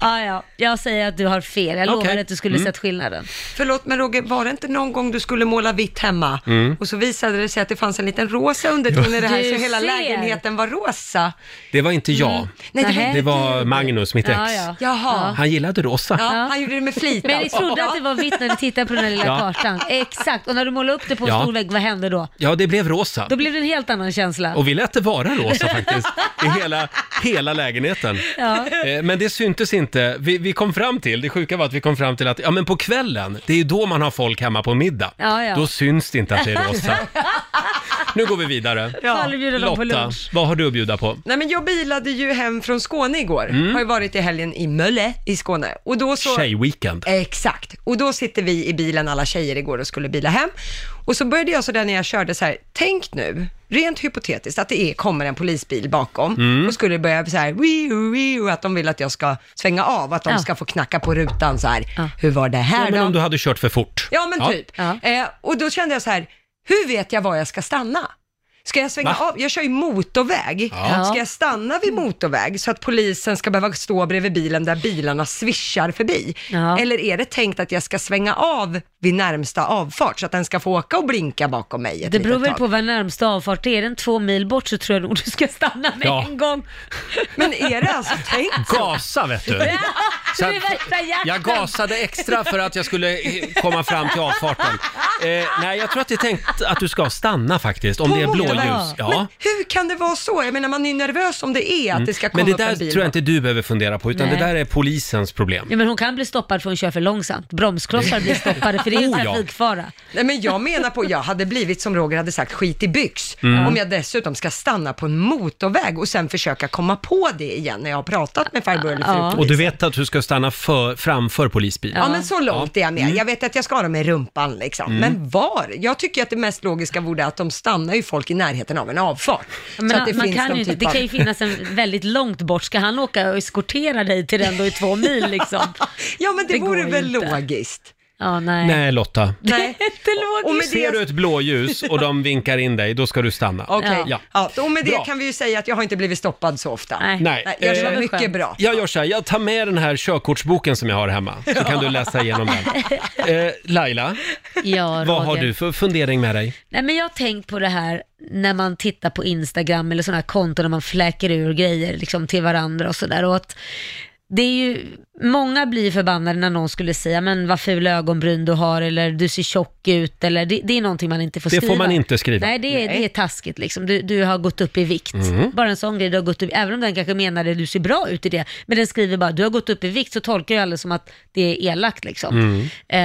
[SPEAKER 4] Ja, ja, jag säger att du har fel. Jag
[SPEAKER 1] Okej. Mm.
[SPEAKER 4] lovade att du skulle sett skillnaden.
[SPEAKER 2] Förlåt, men Roger, var det inte någon gång du skulle måla vitt hemma?
[SPEAKER 1] Mm.
[SPEAKER 2] Och så visade det sig att det fanns en liten rosa underton i det här,
[SPEAKER 4] Du
[SPEAKER 2] så hela
[SPEAKER 4] ser.
[SPEAKER 2] lägenheten var rosa.
[SPEAKER 1] Det var inte jag.
[SPEAKER 2] Nej, det var
[SPEAKER 4] Nähä.
[SPEAKER 1] Det var Magnus, mitt ex.
[SPEAKER 4] Mm. Ja, ja.
[SPEAKER 2] Jaha.
[SPEAKER 1] Han gillade rosa.
[SPEAKER 2] Ja, han gjorde det med flit
[SPEAKER 4] Men ni
[SPEAKER 2] alltså.
[SPEAKER 4] trodde att det var vitt när ni tittade på den här
[SPEAKER 1] *laughs*
[SPEAKER 4] lilla
[SPEAKER 1] Ja.
[SPEAKER 4] kartan. Exakt, och när du målade upp det på en
[SPEAKER 1] Ja.
[SPEAKER 4] stor vägg, vad hände då?
[SPEAKER 1] Ja, det blev rosa.
[SPEAKER 4] Då blev det en helt annan känsla.
[SPEAKER 1] Och vi lät det vara rosa faktiskt, i hela, hela lägenheten.
[SPEAKER 4] Ja.
[SPEAKER 1] Eh, Men det syntes inte. Vi, vi kom fram till, det sjuka var att vi kom fram till att, ja men på kvällen, det är ju då man har folk hemma på middag.
[SPEAKER 4] Ja, ja.
[SPEAKER 1] Då syns det inte att det är
[SPEAKER 4] *laughs*
[SPEAKER 1] rosa. Nu går vi vidare.
[SPEAKER 4] Ja. Faller bjuder dem på
[SPEAKER 1] Lotta,
[SPEAKER 4] lunch.
[SPEAKER 1] vad har du att bjuda på?
[SPEAKER 2] Nej men jag bilade ju hem från Skåne igår.
[SPEAKER 1] Mm.
[SPEAKER 2] Har ju varit i helgen i Mölle i Skåne. Och då så...
[SPEAKER 1] Tjejweekend.
[SPEAKER 2] Exakt. Och då sitter vi i bilen alla tjejer igår och skulle bila hem. Och så började jag sådär när jag körde så här, tänk nu, rent hypotetiskt, att det är, kommer en polisbil bakom och skulle börja så här, wiu, wiu, att de vill att jag ska svänga av, att de
[SPEAKER 4] Ja.
[SPEAKER 2] ska få knacka på rutan så här,
[SPEAKER 4] Ja.
[SPEAKER 2] hur var det här
[SPEAKER 1] Ja, men
[SPEAKER 2] då?
[SPEAKER 1] om du hade kört för fort.
[SPEAKER 2] Ja, men typ.
[SPEAKER 4] Ja.
[SPEAKER 2] Eh, och då kände jag så här, hur vet jag var jag ska stanna? Ska jag svänga
[SPEAKER 1] Va?
[SPEAKER 2] av? Jag kör ju motorväg.
[SPEAKER 1] Ja.
[SPEAKER 2] Ska jag stanna vid motorväg så att polisen ska behöva stå bredvid bilen där bilarna svischar förbi?
[SPEAKER 4] Ja.
[SPEAKER 2] Eller är det tänkt att jag ska svänga av vid närmsta avfart så att den ska få åka och blinka bakom mig ett
[SPEAKER 4] Det beror
[SPEAKER 2] litet
[SPEAKER 4] väl
[SPEAKER 2] tag?
[SPEAKER 4] på vad närmsta avfart är. Är den två mil bort så tror jag nog du ska stanna med
[SPEAKER 1] Ja.
[SPEAKER 4] en gång.
[SPEAKER 2] Men är det alltså tänkt så?
[SPEAKER 1] Gasa vet du. Så
[SPEAKER 4] Så
[SPEAKER 1] att-
[SPEAKER 4] det är värsta jakten.
[SPEAKER 1] Jag gasade extra för att jag skulle eh, komma fram till avfarten. Eh, nej, jag tror att det är tänkt att du ska stanna faktiskt, om
[SPEAKER 2] På
[SPEAKER 1] det är
[SPEAKER 2] motorväg?
[SPEAKER 1] blåljus.
[SPEAKER 2] Men hur kan det vara så? Jag menar, man är ju nervös om det är att det ska komma
[SPEAKER 1] Mm. Men det
[SPEAKER 2] upp en
[SPEAKER 1] där
[SPEAKER 2] bil.
[SPEAKER 1] tror jag inte du behöver fundera på, utan
[SPEAKER 4] Nej.
[SPEAKER 1] det där är polisens problem.
[SPEAKER 4] Ja, men hon kan bli stoppad för hon kör för långsamt. Bromsklossar blir stoppade för det är en
[SPEAKER 1] Oh, ja.
[SPEAKER 4] trafikfara.
[SPEAKER 2] Nej men jag menar på, jag hade blivit som Roger hade sagt, skit i byx.
[SPEAKER 1] Mm.
[SPEAKER 2] Om jag dessutom ska stanna på en motorväg och sen försöka komma på det igen när jag har pratat med farbror eller
[SPEAKER 4] Ja.
[SPEAKER 2] fru
[SPEAKER 1] Och du
[SPEAKER 2] polis.
[SPEAKER 1] vet att du ska stanna för, framför polisbilen?
[SPEAKER 2] Ja men så långt är jag med.
[SPEAKER 1] Mm.
[SPEAKER 2] Jag vet att jag ska ha dem i rumpan liksom. Men var? Jag tycker att det mest logiska vore att de stannar ju folk i närheten av en avfart.
[SPEAKER 4] Men
[SPEAKER 2] så att det
[SPEAKER 4] man
[SPEAKER 2] finns
[SPEAKER 4] kan
[SPEAKER 2] någon
[SPEAKER 4] ju, inte-
[SPEAKER 2] typ
[SPEAKER 4] det
[SPEAKER 2] av...
[SPEAKER 4] kan ju finnas en väldigt långt bort. Ska han åka och eskortera dig till den då i två mil liksom?
[SPEAKER 2] *laughs* Ja men det,
[SPEAKER 4] Det går
[SPEAKER 2] vore
[SPEAKER 4] ju
[SPEAKER 2] väl
[SPEAKER 4] inte. *laughs*
[SPEAKER 2] logiskt.
[SPEAKER 4] Ja, nej.
[SPEAKER 1] Nej, Lotta.
[SPEAKER 2] Nej.
[SPEAKER 4] Inte logiskt.
[SPEAKER 2] Och med
[SPEAKER 1] Ser du
[SPEAKER 2] det...
[SPEAKER 1] ett blåljus och de vinkar in dig, då ska du stanna.
[SPEAKER 2] Okej.
[SPEAKER 1] Ja.
[SPEAKER 2] Ja. och med det
[SPEAKER 1] Bra.
[SPEAKER 2] kan vi ju säga att jag har inte blivit stoppad så ofta.
[SPEAKER 4] Nej.
[SPEAKER 1] Nej.
[SPEAKER 2] Nej, jag
[SPEAKER 1] Eh,
[SPEAKER 2] kör mycket
[SPEAKER 4] skönt.
[SPEAKER 2] bra.
[SPEAKER 1] Jag gör så här, jag tar med den här körkortsboken som jag har hemma, så kan du läsa igenom den. Eh, Laila,
[SPEAKER 4] Ja,
[SPEAKER 1] vad har
[SPEAKER 4] Roger.
[SPEAKER 1] du för fundering med dig?
[SPEAKER 4] Nej, men jag har tänkt på det här när man tittar på Instagram eller sådana här konton när man fläker ur grejer liksom, till varandra och sådär. Och att det är ju, många blir förbannade när någon skulle säga, men vad ful ögonbryn du har eller du ser tjock ut eller det, det är någonting man inte får
[SPEAKER 1] Det får
[SPEAKER 4] skriva.
[SPEAKER 1] man inte skriva.
[SPEAKER 4] Nej, det är, det är taskigt liksom. Du, du har gått upp i vikt. Bara en sån grej, du har gått upp, även om den kanske menade du ser bra ut i det, men den skriver bara du har gått upp i vikt så tolkar ju alla som att det är elakt liksom. Eh,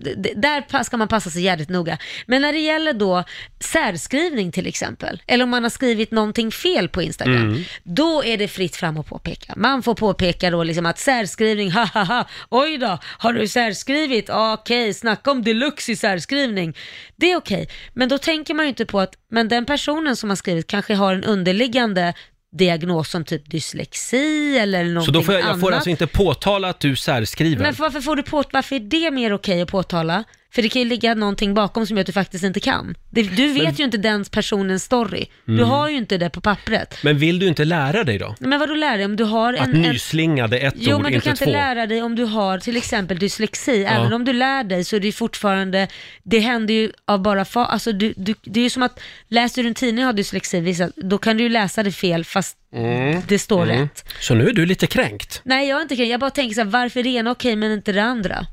[SPEAKER 4] d- d- där pa- ska man passa sig jävligt noga. Men när det gäller då särskrivning till exempel, eller om man har skrivit någonting fel på Instagram,
[SPEAKER 1] Mm.
[SPEAKER 4] då är det fritt fram att påpeka. Man får påpeka då liksom att särskrivning, ha ha ha, oj då, har du särskrivit? Ja, Okej, snacka om deluxe i särskrivning. Det är okej, men då tänker man ju inte på att men den personen som har skrivit kanske har en underliggande diagnos som typ dyslexi eller någonting
[SPEAKER 1] Så då får jag, jag
[SPEAKER 4] annat.
[SPEAKER 1] får alltså inte påtala att du särskriver?
[SPEAKER 4] Men för- varför, får du på, varför är det mer okej att påtala? För det kan ju ligga någonting bakom som gör att du faktiskt inte kan. Det, du vet ju inte den personens story.
[SPEAKER 1] Mm.
[SPEAKER 4] Du har ju inte det på pappret.
[SPEAKER 1] Men vill du inte lära dig då?
[SPEAKER 4] Men vadå lär dig om du har
[SPEAKER 1] Att
[SPEAKER 4] en... en
[SPEAKER 1] nyslingade ett
[SPEAKER 4] Jo
[SPEAKER 1] ord,
[SPEAKER 4] men du
[SPEAKER 1] inte
[SPEAKER 4] kan
[SPEAKER 1] två.
[SPEAKER 4] inte lära dig om du har till exempel dyslexi. Även om du lär dig så är det ju fortfarande, det händer ju av bara fa... Alltså du, du, det är ju som att läser du en tidning och har dyslexi, vissa, då kan du ju läsa det fel fast
[SPEAKER 1] Mm.
[SPEAKER 4] det står rätt.
[SPEAKER 1] Så nu är du lite kränkt.
[SPEAKER 4] Nej jag är inte kränkt. jag bara tänker så här, varför är det ena okej men inte det andra?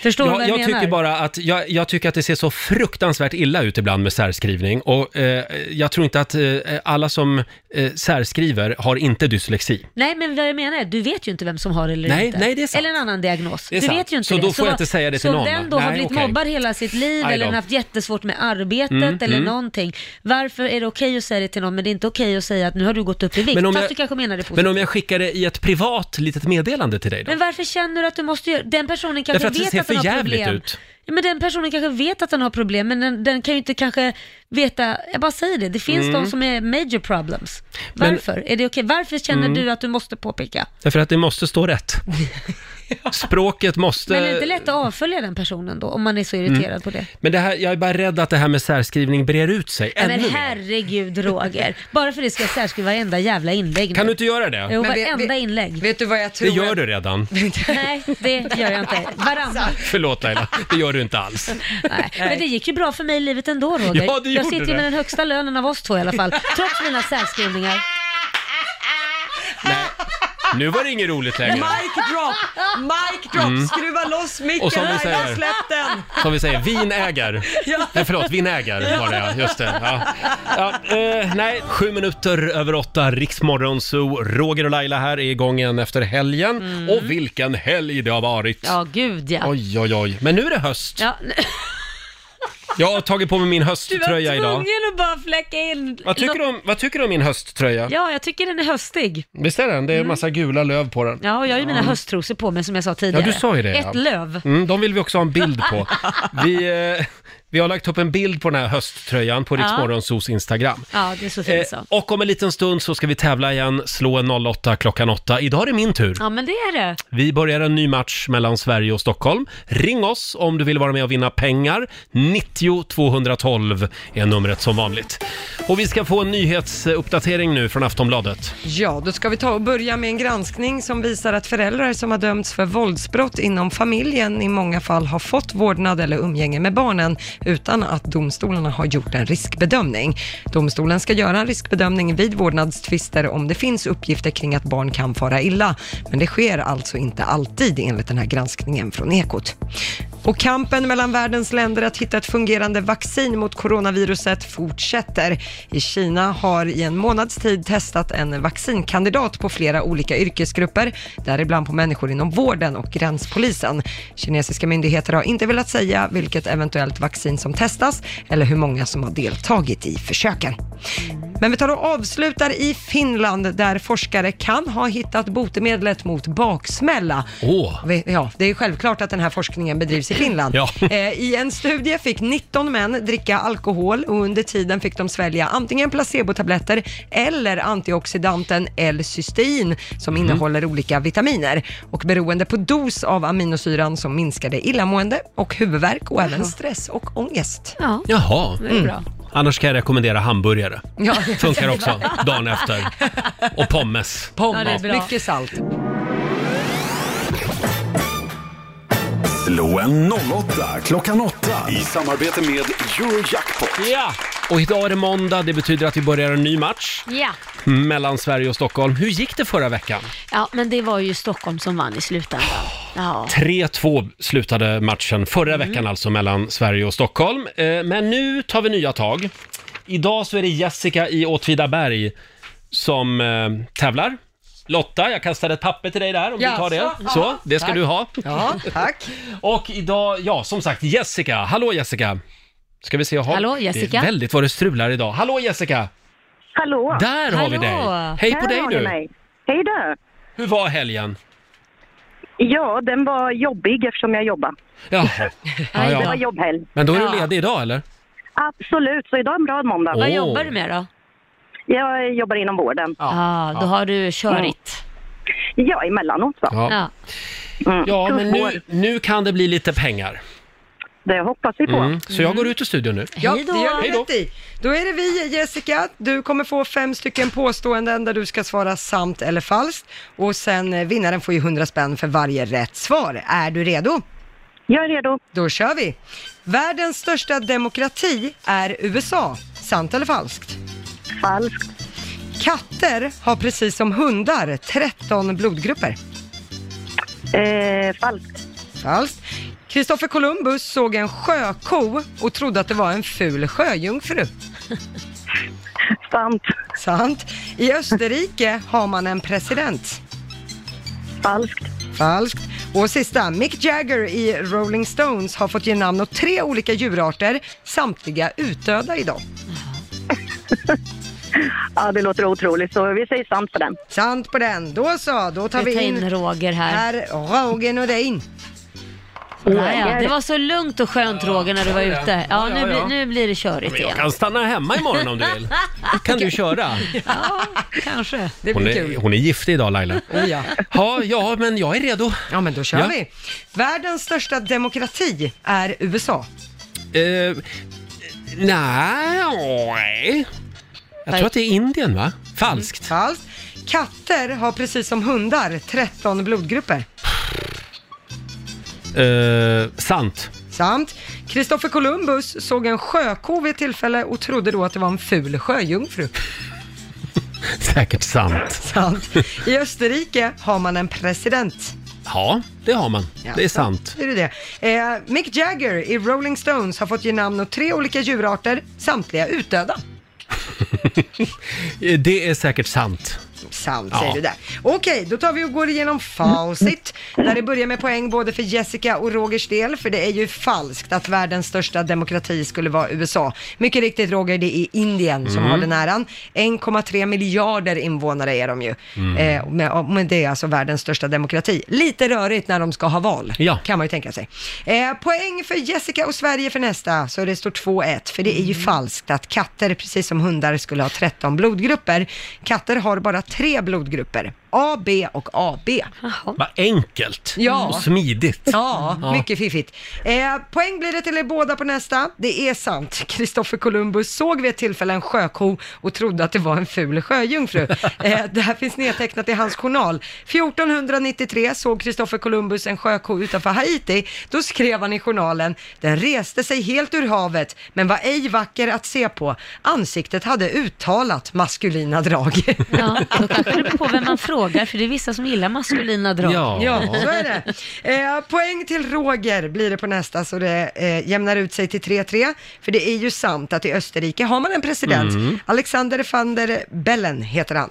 [SPEAKER 4] Förstår du vad
[SPEAKER 1] Jag,
[SPEAKER 4] jag,
[SPEAKER 1] jag
[SPEAKER 4] menar?
[SPEAKER 1] tycker bara att, jag, jag tycker att det ser så fruktansvärt illa ut ibland med särskrivning och eh, jag tror inte att eh, alla som eh, särskriver har inte dyslexi.
[SPEAKER 4] Nej, men vad jag menar är, du vet ju inte vem som har det eller
[SPEAKER 1] Nej,
[SPEAKER 4] inte.
[SPEAKER 1] nej, det är sant.
[SPEAKER 4] Eller en annan diagnos.
[SPEAKER 1] Det är
[SPEAKER 4] du
[SPEAKER 1] sant.
[SPEAKER 4] vet ju inte
[SPEAKER 1] Så
[SPEAKER 4] det.
[SPEAKER 1] då får jag
[SPEAKER 4] vad-
[SPEAKER 1] inte säga det till någon,
[SPEAKER 4] Så
[SPEAKER 1] va?
[SPEAKER 4] den då har
[SPEAKER 1] Nej,
[SPEAKER 4] blivit
[SPEAKER 1] okej.
[SPEAKER 4] mobbad hela sitt liv
[SPEAKER 1] Aj då.
[SPEAKER 4] eller
[SPEAKER 1] Mm,
[SPEAKER 4] den har haft jättesvårt med arbetet eller någonting. Varför är det okej att säga det till någon men det är inte okej att säga att nu har du gått upp i vikt?
[SPEAKER 1] Men om
[SPEAKER 4] Fast
[SPEAKER 1] jag-
[SPEAKER 4] du kanske menar det positivt.
[SPEAKER 1] Men om jag skickar det i ett privat litet meddelande till dig då?
[SPEAKER 4] Men varför känner du att du måste göra... Den personen kanske
[SPEAKER 1] Därför att det
[SPEAKER 4] vet
[SPEAKER 1] ser
[SPEAKER 4] att den
[SPEAKER 1] för
[SPEAKER 4] har
[SPEAKER 1] jävligt
[SPEAKER 4] problem.
[SPEAKER 1] ut.
[SPEAKER 4] Ja, men den personen kanske vet att den har problem, men den, den kan ju inte kanske veta... Jag bara säger det, det finns de som är major problems.
[SPEAKER 1] Mm. Men- Mm.
[SPEAKER 4] Varför? Är det okej? Varför känner du att du måste påpeka?
[SPEAKER 1] Därför att det måste stå
[SPEAKER 4] *laughs*
[SPEAKER 1] rätt. Språket måste...
[SPEAKER 4] Men är det inte lätt att avfölja den personen då, om man är så
[SPEAKER 1] Mm.
[SPEAKER 4] irriterad på det?
[SPEAKER 1] Men det här, jag är bara rädd att det här med särskrivning brer ut sig
[SPEAKER 4] Nej,
[SPEAKER 1] ännu
[SPEAKER 4] men
[SPEAKER 1] mer.
[SPEAKER 4] herregud Roger, bara för det ska jag särskriva varenda jävla inlägg
[SPEAKER 1] Kan
[SPEAKER 4] nu.
[SPEAKER 1] du inte göra det?
[SPEAKER 4] Jo,
[SPEAKER 2] Men vet-
[SPEAKER 4] varenda
[SPEAKER 2] vet-
[SPEAKER 4] inlägg.
[SPEAKER 2] Vet du vad jag
[SPEAKER 1] Det
[SPEAKER 2] tror?
[SPEAKER 1] gör du redan.
[SPEAKER 4] Nej, det gör jag inte. Varandra.
[SPEAKER 1] Alltså. Förlåt Laila, det gör du inte alls.
[SPEAKER 4] Nej. Men det gick ju bra för mig i livet ändå Roger.
[SPEAKER 1] Ja, det
[SPEAKER 4] jag
[SPEAKER 1] gjorde
[SPEAKER 4] sitter ju
[SPEAKER 1] det.
[SPEAKER 4] med den högsta lönen av oss två i alla fall, trots mina särskrivningar.
[SPEAKER 1] Nu var det inget roligt längre.
[SPEAKER 2] Mic drop! Mic drop! Skruva loss micken!
[SPEAKER 1] Mm. Och som du
[SPEAKER 2] Laila,
[SPEAKER 1] säger-
[SPEAKER 2] Släpp den!
[SPEAKER 1] Som vi säger, vinägar. Nej, förlåt, vinägar var det ja. Just det. Ja. Ja, eh, nej, sju minuter över åtta, Riksmorgon Zoo. Roger och Laila här är igång igen efter helgen. Och vilken helg det har varit.
[SPEAKER 4] Mm. Ja, gud ja.
[SPEAKER 1] Oj, oj, oj. Men nu är det höst.
[SPEAKER 4] ja.
[SPEAKER 1] Jag har tagit på mig min hösttröja idag.
[SPEAKER 4] att bara fläcka in.
[SPEAKER 1] Vad tycker, du om, vad tycker du om min hösttröja?
[SPEAKER 4] Ja, jag tycker den är höstig.
[SPEAKER 1] Visst är den? Det är en massa gula löv på den.
[SPEAKER 4] Ja, och jag har ju mina hösttrosor på mig som jag sa tidigare.
[SPEAKER 1] Ja, du sa ju det,
[SPEAKER 4] Ett
[SPEAKER 1] ja.
[SPEAKER 4] löv.
[SPEAKER 1] Mm, de vill vi också ha en bild på. Vi, eh, vi har lagt upp en bild på den här hösttröjan på
[SPEAKER 4] Ja.
[SPEAKER 1] Riksmorgonsos Instagram.
[SPEAKER 4] Ja, det är så fint
[SPEAKER 1] Eh,
[SPEAKER 4] så.
[SPEAKER 1] och om en liten stund så ska vi tävla igen, slå en 08 klockan 8. Idag är det min tur.
[SPEAKER 4] Ja, men det är det.
[SPEAKER 1] Vi börjar en ny match mellan Sverige och Stockholm. Ring oss om du vill vara med och vinna pengar. 90 212 är numret som vanligt. Och vi ska få en nyhetsuppdatering nu från Aftonbladet.
[SPEAKER 2] Ja, då ska vi ta och börja med en granskning som visar att föräldrar som har dömts för våldsbrott inom familjen i många fall har fått vårdnad eller umgänge med barnen utan att domstolarna har gjort en riskbedömning. Domstolen ska göra en riskbedömning vid vårdnadstvister om det finns uppgifter kring att barn kan fara illa, men det sker alltså inte alltid enligt den här granskningen från Ekot. Och kampen mellan världens länder att hitta ett fungerande vaccin mot coronaviruset fortsätter. I Kina har i en månads tid testat en vaccinkandidat på flera olika yrkesgrupper, däribland på människor inom vården och gränspolisen. Kinesiska myndigheter har inte velat säga vilket eventuellt vaccin som testas eller hur många som har deltagit i försöken. Men vi tar och avslutar i Finland där forskare kan ha hittat botemedlet mot baksmälla.
[SPEAKER 1] Åh.
[SPEAKER 2] Vi- Ja, det är självklart att den här forskningen bedrivs i
[SPEAKER 4] *laughs*
[SPEAKER 2] Finland.
[SPEAKER 1] Ja.
[SPEAKER 2] Eh, I en studie fick 19 män dricka alkohol och under tiden fick de svälja antingen placebotabletter eller antioxidanten L-cystein som
[SPEAKER 4] Mm.
[SPEAKER 2] innehåller olika vitaminer. Och beroende på dos av aminosyran så minskade illamående och huvudvärk och även stress och ångest.
[SPEAKER 4] Ja,
[SPEAKER 1] Jaha. Mm.
[SPEAKER 4] det är bra.
[SPEAKER 1] Annars kan jag rekommendera hamburgare.
[SPEAKER 2] Ja.
[SPEAKER 1] Funkar också dagen efter. Och pommes.
[SPEAKER 4] *laughs* Ja, det är bra.
[SPEAKER 2] Mycket salt.
[SPEAKER 3] Slå en 08 klockan 8 i samarbete med Eurojackpot.
[SPEAKER 1] Ja! Och idag är det måndag, det betyder att vi börjar en ny match
[SPEAKER 4] Ja.
[SPEAKER 1] mellan Sverige och Stockholm. Hur gick det förra veckan?
[SPEAKER 4] ja, men det var ju Stockholm som vann i slutändan. Ja.
[SPEAKER 1] 3-2 slutade matchen förra
[SPEAKER 2] Mm.
[SPEAKER 1] veckan alltså mellan Sverige och Stockholm. Eh, Men nu tar vi nya tag. Idag så är det Jessica i Åtvidaberg som eh, tävlar. Lotta, jag kastade ett papper till dig där om du
[SPEAKER 2] Ja,
[SPEAKER 1] tar det.
[SPEAKER 2] så.
[SPEAKER 1] Så, det ska
[SPEAKER 2] Tack.
[SPEAKER 1] du ha.
[SPEAKER 2] Ja, tack.
[SPEAKER 1] Och idag, ja som sagt Jessica. Hallå Jessica! Ska vi se, jag har...
[SPEAKER 4] Hallå,
[SPEAKER 1] Det
[SPEAKER 4] Jessica.
[SPEAKER 1] är väldigt vad det strular idag. Hallå Jessica!
[SPEAKER 6] Hallå!
[SPEAKER 1] Där har vi
[SPEAKER 4] Hallå.
[SPEAKER 1] dig! Hej på
[SPEAKER 6] Där
[SPEAKER 1] dig
[SPEAKER 6] har ni
[SPEAKER 1] du!
[SPEAKER 6] mig. Hej då!
[SPEAKER 1] Hur var helgen?
[SPEAKER 6] Ja, den var jobbig eftersom jag jobbar.
[SPEAKER 1] Jaha. Ja,
[SPEAKER 4] Aj
[SPEAKER 6] Det var
[SPEAKER 1] ja.
[SPEAKER 4] då.
[SPEAKER 6] jobbhelg.
[SPEAKER 1] Men då är du
[SPEAKER 4] Ja.
[SPEAKER 1] ledig idag eller?
[SPEAKER 6] Absolut, så idag är en bra måndag.
[SPEAKER 1] Åh.
[SPEAKER 4] Vad jobbar du med då?
[SPEAKER 6] Jag jobbar inom vården.
[SPEAKER 1] Ja.
[SPEAKER 4] Ah, då har du körit.
[SPEAKER 6] Ja, emellanåt så.
[SPEAKER 1] Ja.
[SPEAKER 4] Ja.
[SPEAKER 6] Mm.
[SPEAKER 1] Ja, men
[SPEAKER 6] Sjukvård.
[SPEAKER 1] nu, nu kan det bli lite pengar.
[SPEAKER 6] Det hoppas vi på.
[SPEAKER 1] Mm. Så jag går ut ur studion nu.
[SPEAKER 2] Ja,
[SPEAKER 4] Hej då.
[SPEAKER 2] det gör
[SPEAKER 1] Hej
[SPEAKER 2] du
[SPEAKER 1] då.
[SPEAKER 2] rätt i. Då är det vi, Jessica. Du kommer få fem stycken påståenden där du ska svara sant eller falskt. Och sen eh, vinnaren får ju 100 spänn för varje rätt svar. Är du redo?
[SPEAKER 6] Jag är redo.
[SPEAKER 2] Då kör vi. Världens största demokrati är USA. Sant eller falskt?
[SPEAKER 6] Falskt.
[SPEAKER 2] Katter har precis som hundar 13 blodgrupper.
[SPEAKER 6] Eh, falskt.
[SPEAKER 2] Falskt. Kristoffer Columbus såg en sjöko och trodde att det var en ful sjöjungfru.
[SPEAKER 6] Sant.
[SPEAKER 2] Sant. I Österrike har man en president.
[SPEAKER 6] Falskt.
[SPEAKER 2] Falskt. Och sista, Mick Jagger i Rolling Stones har fått ge namn åt tre olika djurarter, samtliga utdöda idag.
[SPEAKER 6] Ja, det låter otroligt, så vi säger sant på den.
[SPEAKER 2] Sant på den. Då så, då tar
[SPEAKER 4] Vi
[SPEAKER 2] vi
[SPEAKER 4] tar in
[SPEAKER 2] in
[SPEAKER 4] Roger här.
[SPEAKER 2] herr Roger Nordin.
[SPEAKER 4] Ja, ja. Det var så lugnt och skönt Roger när du var ute. Ja,
[SPEAKER 1] Ja, ja,
[SPEAKER 4] nu,
[SPEAKER 1] ja.
[SPEAKER 4] blir- nu blir det körigt
[SPEAKER 1] Jag
[SPEAKER 4] igen.
[SPEAKER 1] kan stanna hemma imorgon om du vill. kan du köra.
[SPEAKER 4] Ja, kanske.
[SPEAKER 2] Det
[SPEAKER 1] Hon
[SPEAKER 2] blir
[SPEAKER 1] är,
[SPEAKER 2] kul.
[SPEAKER 1] hon är giftig idag Laila.
[SPEAKER 2] Oh, ja.
[SPEAKER 1] Ja, ja, men jag är redo.
[SPEAKER 2] ja, men då kör
[SPEAKER 1] Ja.
[SPEAKER 2] vi. Världens största demokrati är USA.
[SPEAKER 1] Eh, nej. Jag tror att det är Indien va? Falskt.
[SPEAKER 2] Falskt. Katter har precis som hundar 13 blodgrupper.
[SPEAKER 1] Eh, sant.
[SPEAKER 2] Sant. Kristoffer Columbus såg en sjöko vid ett tillfälle och trodde då att det var en ful sjöjungfru.
[SPEAKER 1] Säkert sant.
[SPEAKER 2] Sant. I Österrike har man en president.
[SPEAKER 1] Ja, det har man.
[SPEAKER 2] Ja.
[SPEAKER 1] Det är sant.
[SPEAKER 2] Är det det? Eh, Mick Jagger i Rolling Stones har fått ge namn åt tre olika djurarter, samtliga utdöda.
[SPEAKER 1] Eh, Det är säkert sant.
[SPEAKER 2] Sant,
[SPEAKER 1] Ja.
[SPEAKER 2] säger du där. Okej, då tar vi och går igenom facit. Där det börjar med poäng både för Jessica och Rogers del, för det är ju falskt att världens största demokrati skulle vara USA. Mycket riktigt Roger, det är Indien som har den äran. 1,3 miljarder invånare är de ju. Eh, men, men det är alltså världens största demokrati. Lite rörigt när de ska ha val,
[SPEAKER 1] Ja.
[SPEAKER 2] kan man ju tänka sig. Eh, poäng för Jessica och Sverige för nästa, så det står 2-1, för det är ju falskt att katter, precis som hundar, skulle ha 13 blodgrupper. Katter har bara tre blodgrupper, A, B och AB.
[SPEAKER 1] Vad enkelt
[SPEAKER 2] Ja.
[SPEAKER 1] och smidigt.
[SPEAKER 2] Ja, mycket fiffigt. Eh, poäng blir det till er båda på nästa. Det är sant. *laughs* Kristoffer Columbus såg vid ett tillfälle en sjöko och trodde att det var en ful sjöjungfru. Eh, det här finns nedtecknat i hans journal. 1493 såg Kristoffer Columbus en sjöko utanför Haiti. Då skrev han i journalen, den reste sig helt ur havet, men var ej vacker att se på. Ansiktet hade uttalat maskulina drag. *laughs*
[SPEAKER 4] Ja, då kanske det beror på vem man frågar, för det är vissa som gillar maskulina drag.
[SPEAKER 2] Ja, så är det. Eh, poäng till Roger blir det på nästa så det eh, jämnar ut sig till 3-3. För det är ju sant att i Österrike har man en president. Alexander van der Bellen heter han.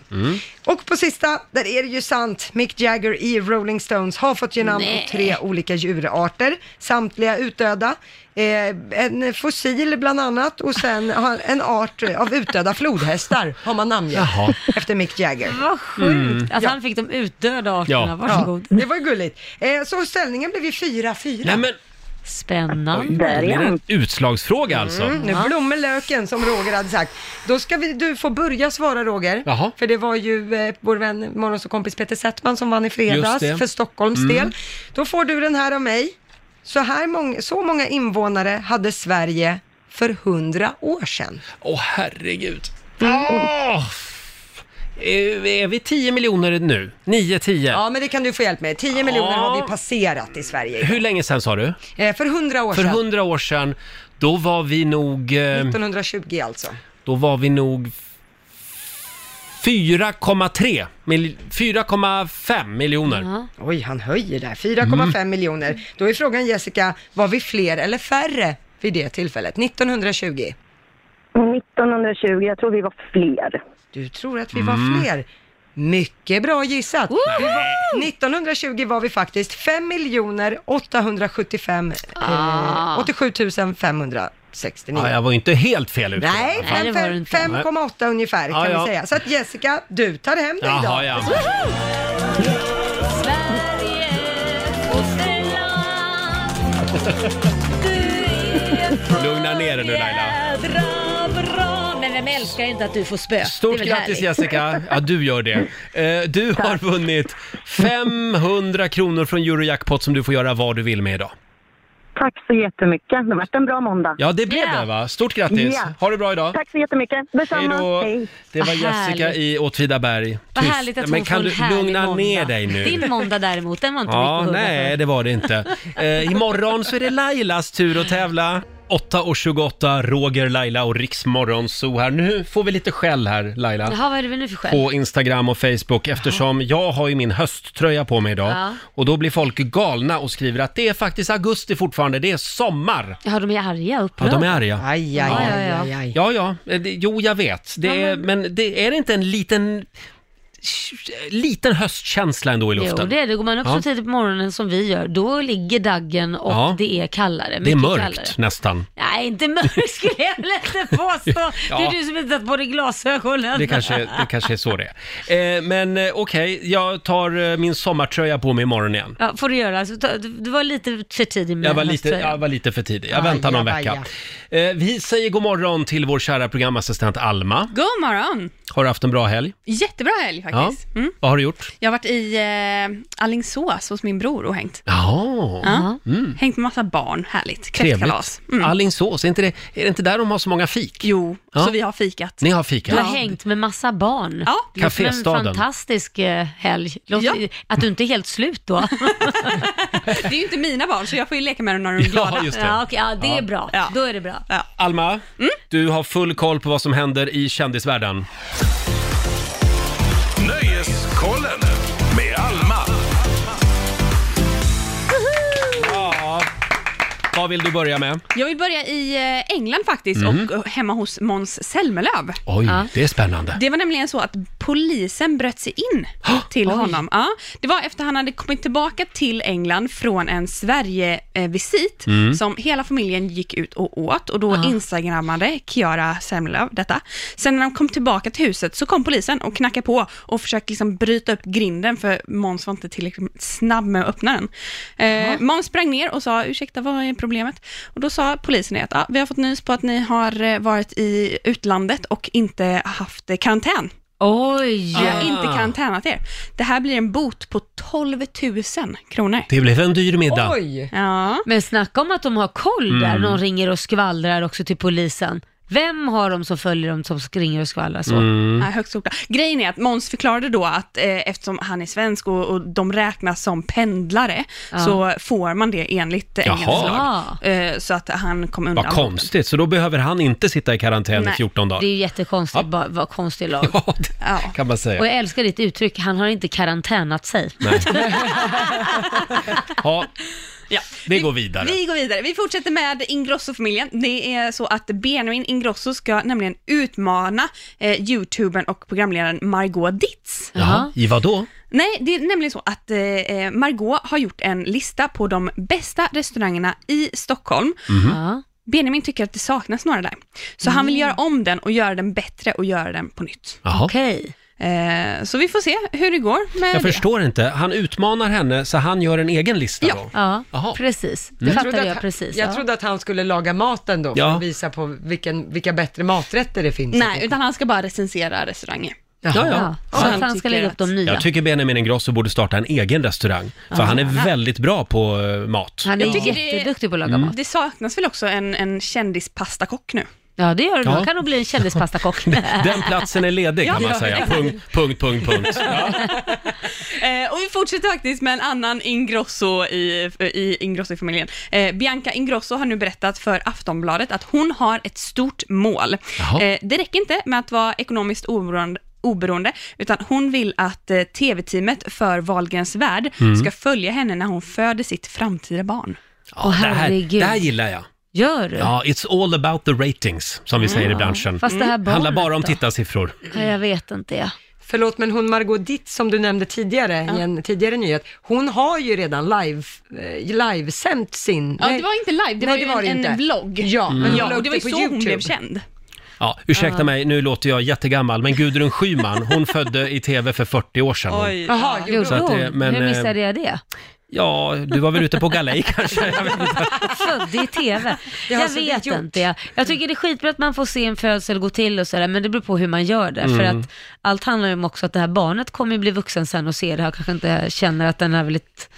[SPEAKER 2] Och på sista, där är det ju sant. Mick Jagger i Rolling Stones har fått ge namn åt tre olika djurarter, samtliga utdöda. eh, en fossil bland annat och sen har- en art av utdöda flodhästar har man namngett
[SPEAKER 1] Jaha.
[SPEAKER 2] efter Mick Jagger.
[SPEAKER 4] Vad sjukt Mm. att han fick de utdöda arterna.
[SPEAKER 1] Ja.
[SPEAKER 2] Ja,
[SPEAKER 4] Varsågod.
[SPEAKER 2] det var ju gulligt. Eh, så ställningen blev ju 4-4.
[SPEAKER 1] Nej men,
[SPEAKER 4] Spännande.
[SPEAKER 1] det blir en utslagsfråga
[SPEAKER 2] Mm.
[SPEAKER 1] alltså.
[SPEAKER 2] Nu blommar löken som Roger hade sagt. Då ska vi, du få börja svara Roger.
[SPEAKER 1] Jaha.
[SPEAKER 2] För det var ju eh, vår vän, morgonsåkompis Peter Settman som vann i fredags
[SPEAKER 1] Just det. Mm.
[SPEAKER 2] för Stockholms del. Då får du den här av mig. Så, här mång- så många invånare hade Sverige för hundra år sedan.
[SPEAKER 1] Åh herregud.
[SPEAKER 2] Mm.
[SPEAKER 1] Åh! Är är vi 10 miljoner nu? 9, 10?
[SPEAKER 2] Ja, men det kan du få hjälp med. 10 miljoner har vi passerat i Sverige.
[SPEAKER 1] Hur länge sen sa du?
[SPEAKER 2] Eh, för hundra år
[SPEAKER 1] För
[SPEAKER 2] sedan.
[SPEAKER 1] 100 år sedan, då var vi nog... eh,
[SPEAKER 2] 1920 alltså.
[SPEAKER 1] Då var vi nog f- 4,3 mil- 4,5 miljoner.
[SPEAKER 2] Oj, han höjer där. 4,5
[SPEAKER 1] Mm.
[SPEAKER 2] miljoner. Då är frågan Jessica, var vi fler eller färre vid det tillfället? 1920?
[SPEAKER 7] 1920, jag tror vi var fler.
[SPEAKER 2] Du tror att vi
[SPEAKER 1] Mm.
[SPEAKER 2] var fler. Mycket bra gissat. Vi var, 1920 var vi faktiskt 5 miljoner 875
[SPEAKER 4] Ah.
[SPEAKER 2] eh, 87 569.
[SPEAKER 1] Ja, jag var inte helt fel ute.
[SPEAKER 2] Nej,
[SPEAKER 4] Nej, det var det
[SPEAKER 2] fem-
[SPEAKER 4] inte.
[SPEAKER 2] fem- 5,8 ungefär kan
[SPEAKER 1] Ja, ja.
[SPEAKER 2] vi säga. Så att Jessica, du tar hem det
[SPEAKER 1] Jaha,
[SPEAKER 2] idag.
[SPEAKER 1] ja.
[SPEAKER 4] Sverige, fosterland. Du är för
[SPEAKER 1] Lugna ner dig nu, Laila.
[SPEAKER 4] jädra bra. Men vem älskar inte att du får spö?
[SPEAKER 1] Stort
[SPEAKER 4] Det är väl
[SPEAKER 1] grattis
[SPEAKER 4] härligt?
[SPEAKER 1] Jessica! Ja, du gör det. Eh, Du har vunnit 500 kronor från Eurojackpot som du får göra vad du vill med idag.
[SPEAKER 7] Tack så jättemycket. Det vart en bra måndag.
[SPEAKER 1] Ja, det blev
[SPEAKER 4] Ja.
[SPEAKER 1] det va? Stort grattis!
[SPEAKER 7] Ja.
[SPEAKER 1] Ha det bra idag!
[SPEAKER 7] Tack så jättemycket. Detsamma.
[SPEAKER 1] då.
[SPEAKER 7] Hej.
[SPEAKER 1] Det var
[SPEAKER 4] Vad
[SPEAKER 1] Jessica
[SPEAKER 4] härligt.
[SPEAKER 1] i Åtvidaberg.
[SPEAKER 4] Vad
[SPEAKER 1] Tyst.
[SPEAKER 4] härligt att hon
[SPEAKER 1] Men kan
[SPEAKER 4] får
[SPEAKER 1] du
[SPEAKER 4] en härlig
[SPEAKER 1] lugna
[SPEAKER 4] måndag.
[SPEAKER 1] ner dig nu?
[SPEAKER 4] Din måndag däremot, den var inte mycket
[SPEAKER 1] Ja,
[SPEAKER 4] att hugga
[SPEAKER 1] nej
[SPEAKER 4] för.
[SPEAKER 1] det var det
[SPEAKER 4] *laughs*
[SPEAKER 1] inte. Eh, imorgon så är det Lailas tur att tävla. 8.28, Roger, Laila och Riksmorgon så här. Nu får vi lite skäll här Laila.
[SPEAKER 4] Jaha, vad är det nu för skäl?
[SPEAKER 1] På Instagram och Facebook eftersom jag har ju min hösttröja på mig idag.
[SPEAKER 4] Ja.
[SPEAKER 1] Och då blir folk galna och skriver att det är faktiskt augusti fortfarande, det är sommar.
[SPEAKER 4] Ja, de är arga och
[SPEAKER 1] Ja, de är
[SPEAKER 4] upprörda.
[SPEAKER 1] arga.
[SPEAKER 2] Aj, aj,
[SPEAKER 4] Ja,
[SPEAKER 2] aj,
[SPEAKER 4] ja, ja.
[SPEAKER 2] aj, aj.
[SPEAKER 1] Ja, ja, eh, det, jo jag vet. Det är, men det, är det inte en liten, liten höstkänsla ändå i luften?
[SPEAKER 4] Jo, det är det. Går man upp
[SPEAKER 1] Ja.
[SPEAKER 4] så tidigt på morgonen som vi gör, då ligger daggen och
[SPEAKER 1] Ja.
[SPEAKER 4] det är kallare.
[SPEAKER 1] det är
[SPEAKER 4] mycket
[SPEAKER 1] mörkt
[SPEAKER 4] Kallare.
[SPEAKER 1] nästan.
[SPEAKER 4] Nej, inte mörkt skulle jag väl inte påstå.
[SPEAKER 1] *laughs* Ja.
[SPEAKER 4] Det är du som inte satt på dig glasögonen.
[SPEAKER 1] Det kanske, det kanske är så det är. Eh, men eh, okej, jag tar eh, min sommartröja på mig imorgon igen.
[SPEAKER 4] Ja, får du göra. Så ta- Du du var lite för tidig med
[SPEAKER 1] Jag var, lite,
[SPEAKER 4] höströjan.
[SPEAKER 1] jag var lite för tidig. Jag
[SPEAKER 2] Aja,
[SPEAKER 1] väntar någon vecka.
[SPEAKER 2] aja.
[SPEAKER 1] Eh, vi säger god morgon till vår kära programassistent Alma.
[SPEAKER 8] God morgon!
[SPEAKER 1] Har du haft en bra helg?
[SPEAKER 8] Jättebra helg faktiskt. Mm.
[SPEAKER 1] Vad har du gjort?
[SPEAKER 8] Jag har varit i eh, Alingsås hos min bror och hängt.
[SPEAKER 1] Ja,
[SPEAKER 8] Ja. Hängt med massa barn, härligt.
[SPEAKER 1] Mm. trevligt.
[SPEAKER 8] Kräftkalas. Mm.
[SPEAKER 1] Alingsås, är inte, det, är det inte där de har så många fik?
[SPEAKER 8] Jo,
[SPEAKER 1] Ja.
[SPEAKER 8] så vi har fikat.
[SPEAKER 1] Ni har fika?
[SPEAKER 4] Du har hängt med massa barn.
[SPEAKER 8] Ja.
[SPEAKER 4] Det låter som
[SPEAKER 1] Caféstaden.
[SPEAKER 4] en fantastisk eh, helg. Låter,
[SPEAKER 8] Ja.
[SPEAKER 4] Att du inte är helt slut då.
[SPEAKER 8] Det är ju inte mina barn, så jag får ju leka med
[SPEAKER 1] *laughs*
[SPEAKER 8] dem när de är
[SPEAKER 1] Ja,
[SPEAKER 8] glada.
[SPEAKER 1] just
[SPEAKER 4] ja,
[SPEAKER 1] det.
[SPEAKER 4] okej, ja, det är bra.
[SPEAKER 8] Ja.
[SPEAKER 4] Då är det bra.
[SPEAKER 1] Alma,
[SPEAKER 8] Mm?
[SPEAKER 1] du har full koll på vad som händer i kändisvärlden.
[SPEAKER 3] Nöjeskollen med Alma.
[SPEAKER 1] Ja. Vad vill du börja med?
[SPEAKER 8] Jag vill börja i eh, England faktiskt, och eh, hemma hos Måns Zelmerlöw.
[SPEAKER 1] Oj, det är spännande.
[SPEAKER 8] Det var nämligen så att polisen bröt sig in till honom. Ja, det var efter han hade kommit tillbaka till England från en Sverige-visit som hela familjen gick ut och åt och då instagrammade Kiara Semlöv detta. Sen när de kom tillbaka till huset så kom polisen och knackade på och försökte liksom bryta upp grinden för Måns var inte tillräckligt snabb med att öppna den. Eh, Måns sprang ner och sa ursäkta vad är problemet? Och då sa polisen det att ah, vi har fått nys på att ni har eh, varit i utlandet och inte haft eh, karantän.
[SPEAKER 4] Oj!
[SPEAKER 8] Vi
[SPEAKER 4] Ja.
[SPEAKER 8] har inte karantänat er. Det här blir en bot på 12 000 kronor.
[SPEAKER 1] Det blev en dyr middag.
[SPEAKER 2] Oj!
[SPEAKER 8] Ja.
[SPEAKER 4] Men snacka om att de har koll där.
[SPEAKER 1] Mm.
[SPEAKER 4] De ringer och skvallrar också till polisen. Vem har de som följer dem som ringer och skvallrar så?
[SPEAKER 1] Mm.
[SPEAKER 8] Ja, högst oklart. Grejen är att Måns förklarade då att eh, eftersom han är svensk och, och de räknas som pendlare så får man det enligt eh,
[SPEAKER 1] Jaha.
[SPEAKER 8] engelsk lag.
[SPEAKER 4] Ja.
[SPEAKER 8] Eh, så att han kom undan.
[SPEAKER 1] Vad konstigt, så då behöver han inte sitta i karantän i
[SPEAKER 8] Nej,
[SPEAKER 1] 14
[SPEAKER 4] Det är
[SPEAKER 1] dagar.
[SPEAKER 4] ju jättekonstigt, bara, vad konstig lag.
[SPEAKER 1] Ja, *laughs* det
[SPEAKER 8] Ja.
[SPEAKER 1] kan man säga.
[SPEAKER 4] Och jag älskar ditt uttryck, han har inte karantänat sig.
[SPEAKER 1] Ja,
[SPEAKER 8] Ja.
[SPEAKER 1] Vi går vidare.
[SPEAKER 8] Vi går vidare. Vi fortsätter med Ingrosso-familjen. Det är så att Benjamin Ingrosso ska nämligen utmana eh, youtubern och programledaren Margot Ditz.
[SPEAKER 1] Jaha, i vad då?
[SPEAKER 8] Nej, det är nämligen så att eh, eh, Margot har gjort en lista på de bästa restaurangerna i Stockholm.
[SPEAKER 1] Mm-hmm.
[SPEAKER 4] Ja.
[SPEAKER 8] Benjamin tycker att det saknas några där. Så han vill göra om den och göra den bättre och göra den på nytt.
[SPEAKER 1] Jaha.
[SPEAKER 4] Okej.
[SPEAKER 8] Eh, så vi får se hur det går med
[SPEAKER 1] Jag
[SPEAKER 8] det.
[SPEAKER 1] förstår inte. Han utmanar henne så han gör en egen lista
[SPEAKER 8] Ja.
[SPEAKER 1] då?
[SPEAKER 4] Ja,
[SPEAKER 1] Jaha. Mm.
[SPEAKER 4] precis. Det fattade jag, precis.
[SPEAKER 2] Mm. jag
[SPEAKER 4] ja.
[SPEAKER 2] trodde att han skulle laga maten då, för
[SPEAKER 1] Ja.
[SPEAKER 2] att visa på vilken, vilka bättre maträtter det finns.
[SPEAKER 8] Nej, utan han ska bara recensera restauranger.
[SPEAKER 1] Ja, ja.
[SPEAKER 4] Ja, så
[SPEAKER 8] Ja,
[SPEAKER 4] att
[SPEAKER 8] han
[SPEAKER 4] han ska
[SPEAKER 8] tycker
[SPEAKER 4] lägga
[SPEAKER 8] att-
[SPEAKER 4] upp de nya.
[SPEAKER 1] Jag tycker Benjamin Ingrosso borde starta en egen restaurang. För han är väldigt bra på eh,
[SPEAKER 4] *laughs*
[SPEAKER 1] mat.
[SPEAKER 4] Han är
[SPEAKER 8] Jag tycker det-
[SPEAKER 4] jätteduktig på att
[SPEAKER 1] Mm.
[SPEAKER 4] laga mat.
[SPEAKER 8] Det saknas väl också en, en kändispastakock nu?
[SPEAKER 4] Ja, det gör det.
[SPEAKER 1] Ja.
[SPEAKER 4] Han kan nog bli en kändispastakock.
[SPEAKER 1] Den platsen är ledig kan man säga. Punkt, punkt, punkt, punkt. Ja.
[SPEAKER 8] Eh, och vi fortsätter faktiskt med en annan Ingrosso i, i Ingrosso-familjen. Eh, Bianca Ingrosso har nu berättat för Aftonbladet att hon har ett stort mål.
[SPEAKER 1] Jaha.
[SPEAKER 8] Eh, det räcker inte med att vara ekonomiskt oberoende, oberoende utan hon vill att eh, tv-teamet för Wahlgrens värld
[SPEAKER 1] Mm.
[SPEAKER 8] ska följa henne när hon föder sitt framtida barn.
[SPEAKER 1] *laughs* Ja,
[SPEAKER 4] Åh,
[SPEAKER 1] det, här,
[SPEAKER 4] herregud.
[SPEAKER 1] det här gillar jag.
[SPEAKER 4] Gör du?
[SPEAKER 1] Ja, it's all about the ratings, som vi säger i branschen. Mm.
[SPEAKER 4] Fast det här barnet
[SPEAKER 1] handlar bara om
[SPEAKER 4] då?
[SPEAKER 1] tittarsiffror.
[SPEAKER 4] Ja, jag vet inte. Ja.
[SPEAKER 2] Förlåt, men hon Margot Ditt som du nämnde tidigare i en tidigare nyhet, hon har ju redan live, eh, livesänt sin...
[SPEAKER 8] Ja,
[SPEAKER 2] nej.
[SPEAKER 8] det var inte live, det
[SPEAKER 2] Nej,
[SPEAKER 8] var ju en,
[SPEAKER 2] inte.
[SPEAKER 8] en vlogg. Mm.
[SPEAKER 2] Ja, men hon la
[SPEAKER 8] Ja, och
[SPEAKER 2] upp
[SPEAKER 8] det var ju
[SPEAKER 2] på
[SPEAKER 8] så hon
[SPEAKER 2] YouTube.
[SPEAKER 8] blev känd.
[SPEAKER 1] Ja, ursäkta mig, nu låter jag jättegammal, men Gudrun Schyman,
[SPEAKER 4] *laughs*
[SPEAKER 1] hon födde i tv för 40 år sedan.
[SPEAKER 2] Jaha, gjorde
[SPEAKER 4] Gjorde
[SPEAKER 2] hon?
[SPEAKER 1] att
[SPEAKER 4] hon?
[SPEAKER 1] det- men,
[SPEAKER 4] Hur missade
[SPEAKER 1] eh,
[SPEAKER 4] jag det?
[SPEAKER 1] Ja, du var väl ute på
[SPEAKER 4] *laughs*
[SPEAKER 1] galej kanske? Jag vet inte.
[SPEAKER 4] Född i
[SPEAKER 1] *laughs*
[SPEAKER 4] TV.
[SPEAKER 2] Det har
[SPEAKER 4] Jag
[SPEAKER 2] så det
[SPEAKER 4] vet
[SPEAKER 2] gjort.
[SPEAKER 4] inte. Jag, jag tycker det är skitbra att man får se en födsel gå till och sådär, men det beror på hur man gör det.
[SPEAKER 1] Mm.
[SPEAKER 4] För att allt handlar ju om också att det här barnet kommer ju bli vuxen sen och se det här och kanske inte känner att den är väldigt...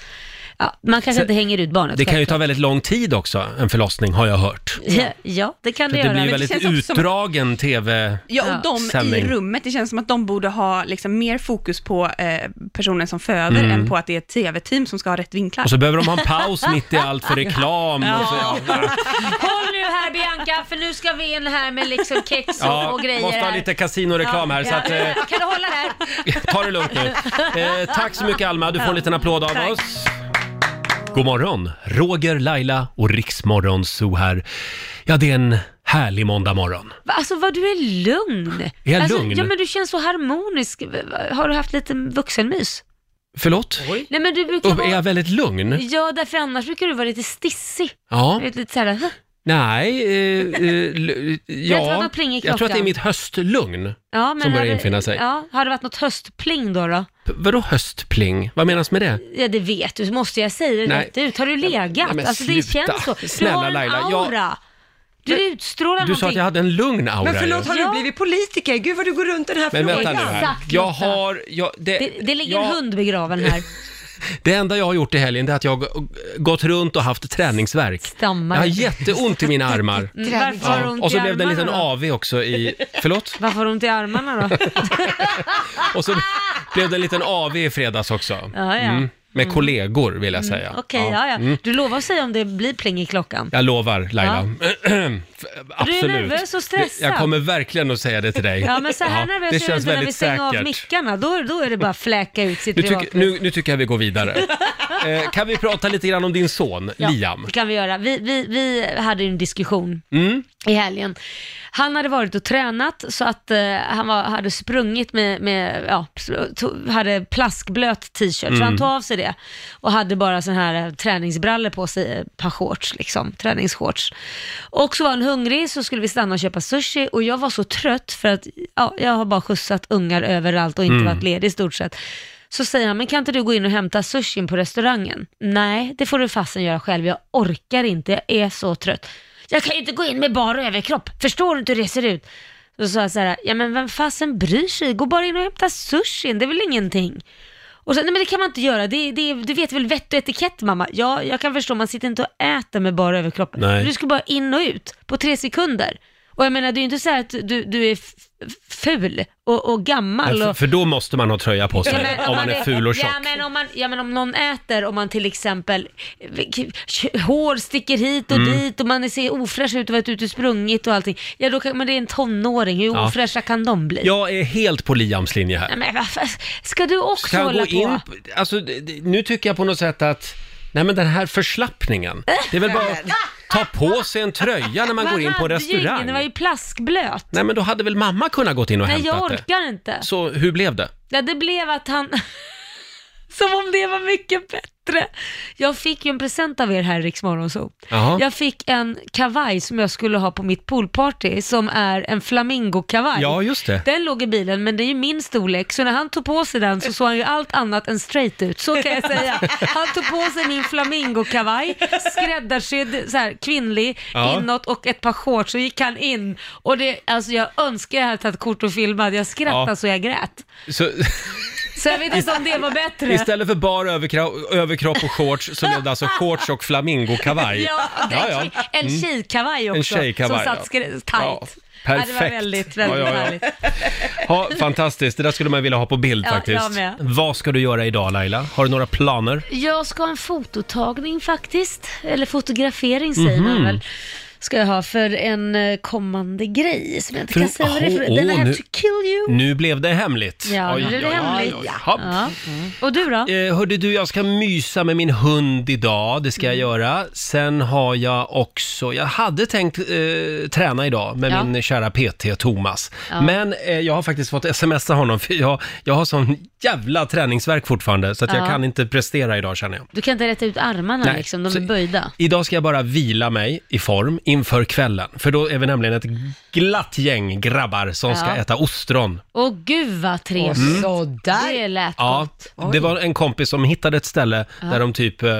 [SPEAKER 4] Ja, man kanske inte hänger ut barnet.
[SPEAKER 1] Det kan ju ta väldigt lång tid också, en förlossning, har jag hört.
[SPEAKER 4] Ja, ja, det kan det,
[SPEAKER 1] Det
[SPEAKER 4] göra.
[SPEAKER 1] blir ju
[SPEAKER 4] men liksom, det
[SPEAKER 1] väldigt
[SPEAKER 4] känns också som-
[SPEAKER 1] utdragen tv...
[SPEAKER 8] Ja, och
[SPEAKER 4] Ja.
[SPEAKER 8] de
[SPEAKER 1] Sändning.
[SPEAKER 8] i rummet, det känns som att de borde ha liksom mer fokus på eh, personen som föder än på att det är ett tv-team som ska ha rätt vinklar.
[SPEAKER 1] Mm. Och så behöver de ha en paus mitt i allt
[SPEAKER 4] *laughs*
[SPEAKER 1] för reklam. Och så, ja,
[SPEAKER 4] Håll nu här Bianca, för nu ska vi in här med liksom kex och,
[SPEAKER 1] ja,
[SPEAKER 4] och grejer
[SPEAKER 1] måste ha
[SPEAKER 4] här.
[SPEAKER 1] lite kasinoreklam här, så att, eh,
[SPEAKER 4] *laughs* Kan du hålla där?
[SPEAKER 1] ta det lugnt nu. Eh, tack så mycket Alma, du får en liten applåd av oss. God morgon, Roger, Laila och Riksmorgon Zoo här. Ja, det är en härlig måndag morgon.
[SPEAKER 4] Va, Alltså vad du är lugn.
[SPEAKER 1] Är jag
[SPEAKER 4] alltså,
[SPEAKER 1] lugn?
[SPEAKER 4] Ja men du känns så harmonisk. Va- va- Har du haft lite vuxenmys?
[SPEAKER 1] Förlåt?
[SPEAKER 4] Nej men du brukar
[SPEAKER 1] Upp, är
[SPEAKER 4] vara...
[SPEAKER 1] jag väldigt lugn?
[SPEAKER 4] Ja därför annars brukar du vara lite stissig.
[SPEAKER 1] Ja.
[SPEAKER 4] Du vet, Lite såhär, "Huh?"
[SPEAKER 1] Nej, eh, eh, l- ja.
[SPEAKER 4] tror att det plingar i
[SPEAKER 1] jag tror att det är
[SPEAKER 4] klockan.
[SPEAKER 1] mitt höstlugn.
[SPEAKER 4] ja, men
[SPEAKER 1] Som börjar
[SPEAKER 4] har det-
[SPEAKER 1] infinna sig.
[SPEAKER 4] Ja, har det varit något höstpling då? då?
[SPEAKER 1] P- Vadå höstpling? Vad menas med det?
[SPEAKER 4] Ja det vet du, måste jag säga det
[SPEAKER 1] Nej.
[SPEAKER 4] rätt ut? Har du legat?
[SPEAKER 1] men
[SPEAKER 4] alltså det
[SPEAKER 1] sluta.
[SPEAKER 4] känns så. Du
[SPEAKER 1] Snälla,
[SPEAKER 4] har en
[SPEAKER 1] Laila, jag-
[SPEAKER 4] aura. Du utstrålar
[SPEAKER 1] Du sa att
[SPEAKER 4] någonting.
[SPEAKER 1] jag hade en lugn aura.
[SPEAKER 2] Men förlåt,
[SPEAKER 1] ju.
[SPEAKER 2] har du
[SPEAKER 4] Ja.
[SPEAKER 2] blivit politiker? Gud vad du går runt den här
[SPEAKER 1] Men
[SPEAKER 2] frågan.
[SPEAKER 1] vänta nu här.
[SPEAKER 4] Exakt,
[SPEAKER 1] Jag
[SPEAKER 4] Lotta.
[SPEAKER 1] har... Jag, det,
[SPEAKER 4] Det, det ligger
[SPEAKER 1] jag,
[SPEAKER 4] en hund begraven här.
[SPEAKER 1] Det enda jag har gjort i helgen det är att jag har g- gått runt och haft träningsvärk.
[SPEAKER 4] Stammar.
[SPEAKER 1] Jag har jätteont i mina armar.
[SPEAKER 4] Mm, Varför *laughs* har du ont
[SPEAKER 1] Och så
[SPEAKER 4] i
[SPEAKER 1] blev det en liten
[SPEAKER 4] armarna då?
[SPEAKER 1] AV också i... Förlåt?
[SPEAKER 4] Varför har du ont i
[SPEAKER 1] *laughs*
[SPEAKER 4] armarna då?
[SPEAKER 1] Och
[SPEAKER 4] *laughs*
[SPEAKER 1] så blev det en liten AV i fredags också. Mm.
[SPEAKER 4] Ja, ja.
[SPEAKER 1] Med kollegor vill jag säga.
[SPEAKER 4] Okej, ja, ja.
[SPEAKER 1] Mm.
[SPEAKER 4] Du lovar att säga om det blir pling i klockan.
[SPEAKER 1] Jag lovar Laila. *clears throat* F- Absolut.
[SPEAKER 4] nervös och stressad.
[SPEAKER 1] Jag kommer verkligen att säga det till dig.
[SPEAKER 4] Ja, men så här
[SPEAKER 1] Ja,
[SPEAKER 4] nervös är du inte när vi stänger av mickarna. Då, då är det bara att fläka ut sitt
[SPEAKER 1] Nu, tyck,
[SPEAKER 4] privatliv.
[SPEAKER 1] nu, nu tycker jag vi går vidare.
[SPEAKER 4] *laughs*
[SPEAKER 1] eh, kan vi prata lite grann om din son, Liam?
[SPEAKER 4] Det kan vi göra. Vi, vi, vi hade ju en diskussion i helgen. Han hade varit och tränat så att eh, han var, hade sprungit med, med ja, pl- to, hade plaskblöt t-shirt, så han tog av sig det och hade bara sån här eh, träningsbrallor på sig, eh, ett par shorts liksom, träningsshorts. Och så var han hungrig så skulle vi stanna och köpa sushi och jag var så trött för att ja, jag har bara skjutsat ungar överallt och inte varit ledig i stort sett. Så säger han, men kan inte du gå in och hämta sushin på restaurangen? Nej, det får du fasen göra själv. Jag orkar inte, jag är så trött. Jag kan ju inte gå in med bara överkropp, förstår du inte hur det ser ut? Så sa jag så här, ja men vem fasen bryr sig? Gå bara in och hämta sushin, det är väl ingenting. Och sen, nej men det kan man inte göra, det, det, du vet väl vett och etikett mamma? Ja, jag kan förstå, man sitter inte och äter med bara överkropp.
[SPEAKER 1] Nej.
[SPEAKER 4] Du ska bara in och ut på tre sekunder. Och jag menar, det är ju inte så här att du, du är f- f- ful och, och gammal.
[SPEAKER 1] För,
[SPEAKER 4] Och,
[SPEAKER 1] för då måste man ha tröja på sig,
[SPEAKER 4] Ja, men
[SPEAKER 1] om man är ful och tjock.
[SPEAKER 4] Ja men, om man, ja men om någon äter, om man till exempel, eh, k- k- hår sticker hit och
[SPEAKER 1] Mm.
[SPEAKER 4] dit och man ser ofräsch ut och varit ute och sprungit och allting. Ja då kan, men det är en tonåring, hur
[SPEAKER 1] Ja.
[SPEAKER 4] ofräscha kan de bli?
[SPEAKER 1] Jag är helt på Liams linje här.
[SPEAKER 4] Nej, men vad fan, ska du också
[SPEAKER 1] Ska han gå
[SPEAKER 4] hålla på?
[SPEAKER 1] in... Alltså, det- det- nu tycker jag på något sätt att Nej men den här förslappningen. Det är väl bara att ta på sig en tröja när man går in på en
[SPEAKER 4] hade ju ingen,
[SPEAKER 1] restaurang.
[SPEAKER 4] Det var ju plaskblöt.
[SPEAKER 1] Nej men då hade väl mamma kunnat gått in och
[SPEAKER 4] Nej, jag
[SPEAKER 1] hämtat det.
[SPEAKER 4] orkar inte.
[SPEAKER 1] Så hur blev det?
[SPEAKER 4] Ja, det blev att han... *laughs* Som om det var mycket bättre. Jag fick ju en present av er här i Rix Morgon Zoo.
[SPEAKER 1] Jaha.
[SPEAKER 4] Jag fick en kavaj som jag skulle ha på mitt poolparty som är en flamingokavaj.
[SPEAKER 1] Ja, just det.
[SPEAKER 4] Den låg i bilen, men det är ju min storlek, så när han tog på sig den så såg han ju allt annat än straight ut, så kan jag säga. Han tog på sig min flamingokavaj, skräddarsydd, så här, kvinnlig,
[SPEAKER 1] Ja.
[SPEAKER 4] inåt och ett par shorts, så gick han in. Och det, alltså jag önskar jag hade tagit kort och filmat, jag skrattade
[SPEAKER 1] Ja.
[SPEAKER 4] så jag grät.
[SPEAKER 1] Så,
[SPEAKER 4] Så jag vet inte om det var bättre.
[SPEAKER 1] istället för bar överkra- överkropp och shorts så blev det alltså shorts och flamingokavaj.
[SPEAKER 4] Ja,
[SPEAKER 1] Ja, ja.
[SPEAKER 4] En tjejkavaj också,
[SPEAKER 1] En tjejkavaj,
[SPEAKER 4] som satt
[SPEAKER 1] ja.
[SPEAKER 4] skri- tight.
[SPEAKER 1] Ja,
[SPEAKER 4] Ja, det var
[SPEAKER 1] perfekt.
[SPEAKER 4] väldigt, väldigt
[SPEAKER 1] Ja, ja, ja.
[SPEAKER 4] härligt.
[SPEAKER 1] Ja, fantastiskt, det där skulle man vilja ha på bild
[SPEAKER 4] Ja,
[SPEAKER 1] faktiskt.
[SPEAKER 4] jag med.
[SPEAKER 1] Vad ska du göra idag Laila? Har du några planer?
[SPEAKER 4] Jag ska ha en fototagning faktiskt, eller fotografering säger
[SPEAKER 1] Mhm.
[SPEAKER 4] man väl. Ska jag ha för en eh, kommande grej som jag inte
[SPEAKER 1] För-
[SPEAKER 4] kan säga vad det är för.
[SPEAKER 1] åh,
[SPEAKER 4] Den
[SPEAKER 1] åh,
[SPEAKER 4] här
[SPEAKER 1] nu-
[SPEAKER 4] to kill you.
[SPEAKER 1] Nu blev det hemligt.
[SPEAKER 4] Ja, nu blev det hemligt.
[SPEAKER 1] Ja.
[SPEAKER 4] Ja. Och du då?
[SPEAKER 1] Eh, hörde du, jag ska mysa med min hund idag, det ska jag
[SPEAKER 4] Mm.
[SPEAKER 1] göra. Sen har jag också, jag hade tänkt eh, träna idag med
[SPEAKER 4] Ja.
[SPEAKER 1] min kära PT Thomas.
[SPEAKER 4] Ja.
[SPEAKER 1] Men eh, jag har faktiskt fått smsa honom för jag, jag har sån jävla träningsvärk fortfarande så att jag
[SPEAKER 4] Ja.
[SPEAKER 1] kan inte prestera idag känner jag.
[SPEAKER 4] Du kan inte rätta ut armarna
[SPEAKER 1] Nej,
[SPEAKER 4] liksom, de
[SPEAKER 1] så-
[SPEAKER 4] är böjda.
[SPEAKER 1] Idag ska jag bara vila mig i form inför kvällen, för då är vi nämligen ett glatt gäng grabbar som ska
[SPEAKER 4] Mm. Ja.
[SPEAKER 1] äta ostron.
[SPEAKER 4] Åh gud vad
[SPEAKER 2] Och
[SPEAKER 4] trevligt.
[SPEAKER 2] sådär.
[SPEAKER 4] Det lät
[SPEAKER 1] Mm. Ja,
[SPEAKER 4] gott.
[SPEAKER 1] det var en kompis som hittade ett ställe där de typ eh,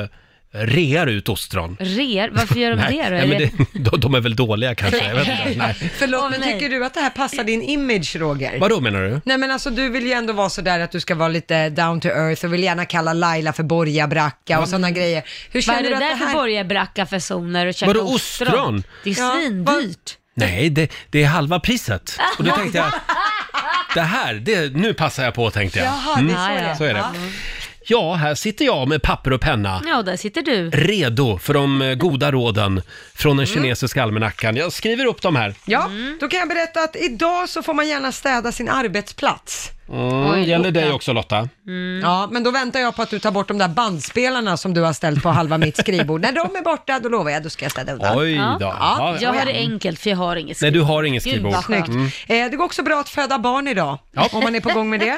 [SPEAKER 1] rear ut ostron.
[SPEAKER 4] Rer, varför gör de
[SPEAKER 1] Nej,
[SPEAKER 4] det då?
[SPEAKER 1] nej, men
[SPEAKER 4] Eller-
[SPEAKER 1] det, *laughs* de, de är väl dåliga kanske? Jag vet inte. Nej.
[SPEAKER 2] Förlåt,
[SPEAKER 4] Åh,
[SPEAKER 2] men
[SPEAKER 4] nej.
[SPEAKER 2] tycker du att det här passar din image, Roger?
[SPEAKER 1] Vadå menar du?
[SPEAKER 2] Nej men alltså du vill ju ändå vara sådär att du ska vara lite down to earth och vill gärna kalla Laila för borgarbracka och sådana grejer. Hur
[SPEAKER 4] Mm. Vad
[SPEAKER 2] känner
[SPEAKER 4] är det
[SPEAKER 2] du att
[SPEAKER 4] där
[SPEAKER 2] det här...
[SPEAKER 4] för borgarbracka för zoner och käka
[SPEAKER 1] Vadå, ostron?
[SPEAKER 4] Det är
[SPEAKER 2] Ja,
[SPEAKER 4] svindyrt.
[SPEAKER 1] Nej, det, det är halva priset. Och då tänkte jag, det här, det, nu passar jag på tänkte jag. Mm.
[SPEAKER 2] Jaha, det är så
[SPEAKER 4] Ja,
[SPEAKER 2] det
[SPEAKER 4] ja.
[SPEAKER 2] är.
[SPEAKER 1] Så är det. Ja, här sitter jag med papper och penna.
[SPEAKER 4] Ja, där sitter du.
[SPEAKER 1] redo för de eh, goda råden från den kinesiska almanackan. Jag skriver upp dem här.
[SPEAKER 2] Ja,
[SPEAKER 4] Mm.
[SPEAKER 2] då kan jag berätta att idag så får man gärna städa sin arbetsplats.
[SPEAKER 1] Mm, gäller dig också Lotta.
[SPEAKER 4] Mm.
[SPEAKER 2] Ja, men då väntar jag på att du tar bort de där bandspelarna som du har ställt på halva mitt skrivbord. När de är borta, då lovar jag, då ska jag städa undan.
[SPEAKER 1] Oj då. Ja,
[SPEAKER 4] Jag
[SPEAKER 1] ja.
[SPEAKER 4] har det enkelt för jag har inget
[SPEAKER 1] Nej,
[SPEAKER 4] skrivbord.
[SPEAKER 1] du har inget
[SPEAKER 4] Gud,
[SPEAKER 1] skrivbord. Mm.
[SPEAKER 4] vad skönt.
[SPEAKER 2] Eh, det går också bra att föda barn idag,
[SPEAKER 1] Ja.
[SPEAKER 2] om man är på gång med det.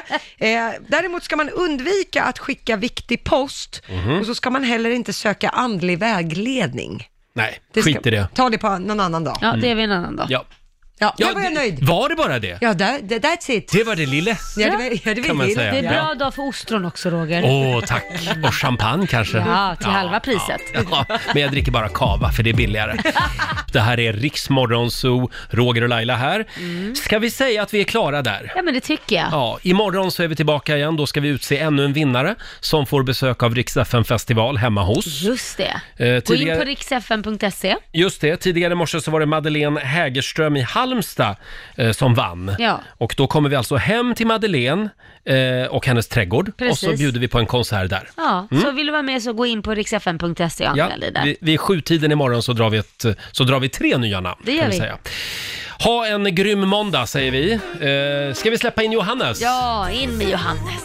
[SPEAKER 2] Eh, däremot ska man undvika att skicka viktig post
[SPEAKER 1] Mhm.
[SPEAKER 2] och så ska man heller inte söka andlig vägledning.
[SPEAKER 1] Nej,
[SPEAKER 2] Det ska-
[SPEAKER 1] skit i det.
[SPEAKER 2] Ta det på någon annan dag.
[SPEAKER 4] Ja, det är vi en annan dag.
[SPEAKER 1] Ja.
[SPEAKER 2] Ja,
[SPEAKER 1] Ja,
[SPEAKER 2] där var jag
[SPEAKER 1] det-
[SPEAKER 2] nöjd.
[SPEAKER 1] Var det bara det?
[SPEAKER 2] Ja, där, där- that's it.
[SPEAKER 1] Det var det lille.
[SPEAKER 2] Ja, det var, ja, det var
[SPEAKER 1] Kan man
[SPEAKER 2] det.
[SPEAKER 1] säga.
[SPEAKER 4] Det är
[SPEAKER 1] Ja.
[SPEAKER 4] en bra dag för ostron också Roger.
[SPEAKER 1] Åh, tack. Och champagne kanske.
[SPEAKER 4] Ja, till halva priset.
[SPEAKER 1] Ja, men jag dricker bara kava för det är billigare. Det här är Riksmorgon Zoo, Roger och Laila här. Ska vi säga att vi är klara där?
[SPEAKER 4] Ja men det tycker jag.
[SPEAKER 1] Ja, imorgon så är vi tillbaka igen. Då ska vi utse ännu en vinnare som får besök av Rix FM festival hemma hos.
[SPEAKER 4] Just det.
[SPEAKER 1] Eh,
[SPEAKER 4] Gå in
[SPEAKER 1] tidigare-
[SPEAKER 4] på riksfn.se.
[SPEAKER 1] Just det, tidigare i morse så var det Madeleine Hägerström i Halmstad eh, som vann.
[SPEAKER 4] Ja.
[SPEAKER 1] Och då kommer vi alltså hem till Madeleine eh, och hennes trädgård
[SPEAKER 4] Precis.
[SPEAKER 1] och så bjuder vi på en konsert där.
[SPEAKER 4] Ja, så vill du vara med så gå in på riksfn.se och
[SPEAKER 1] Mm. Ja,
[SPEAKER 4] anmäl dig där.
[SPEAKER 1] vi, vid sjutiden imorgon så drar vi, ett, så drar vi tre nya namn.
[SPEAKER 4] Det gör
[SPEAKER 1] kan
[SPEAKER 4] vi.
[SPEAKER 1] Säga. Ha en grym måndag säger vi. Eh, ska vi släppa in Johannes?
[SPEAKER 4] Ja, in med Johannes.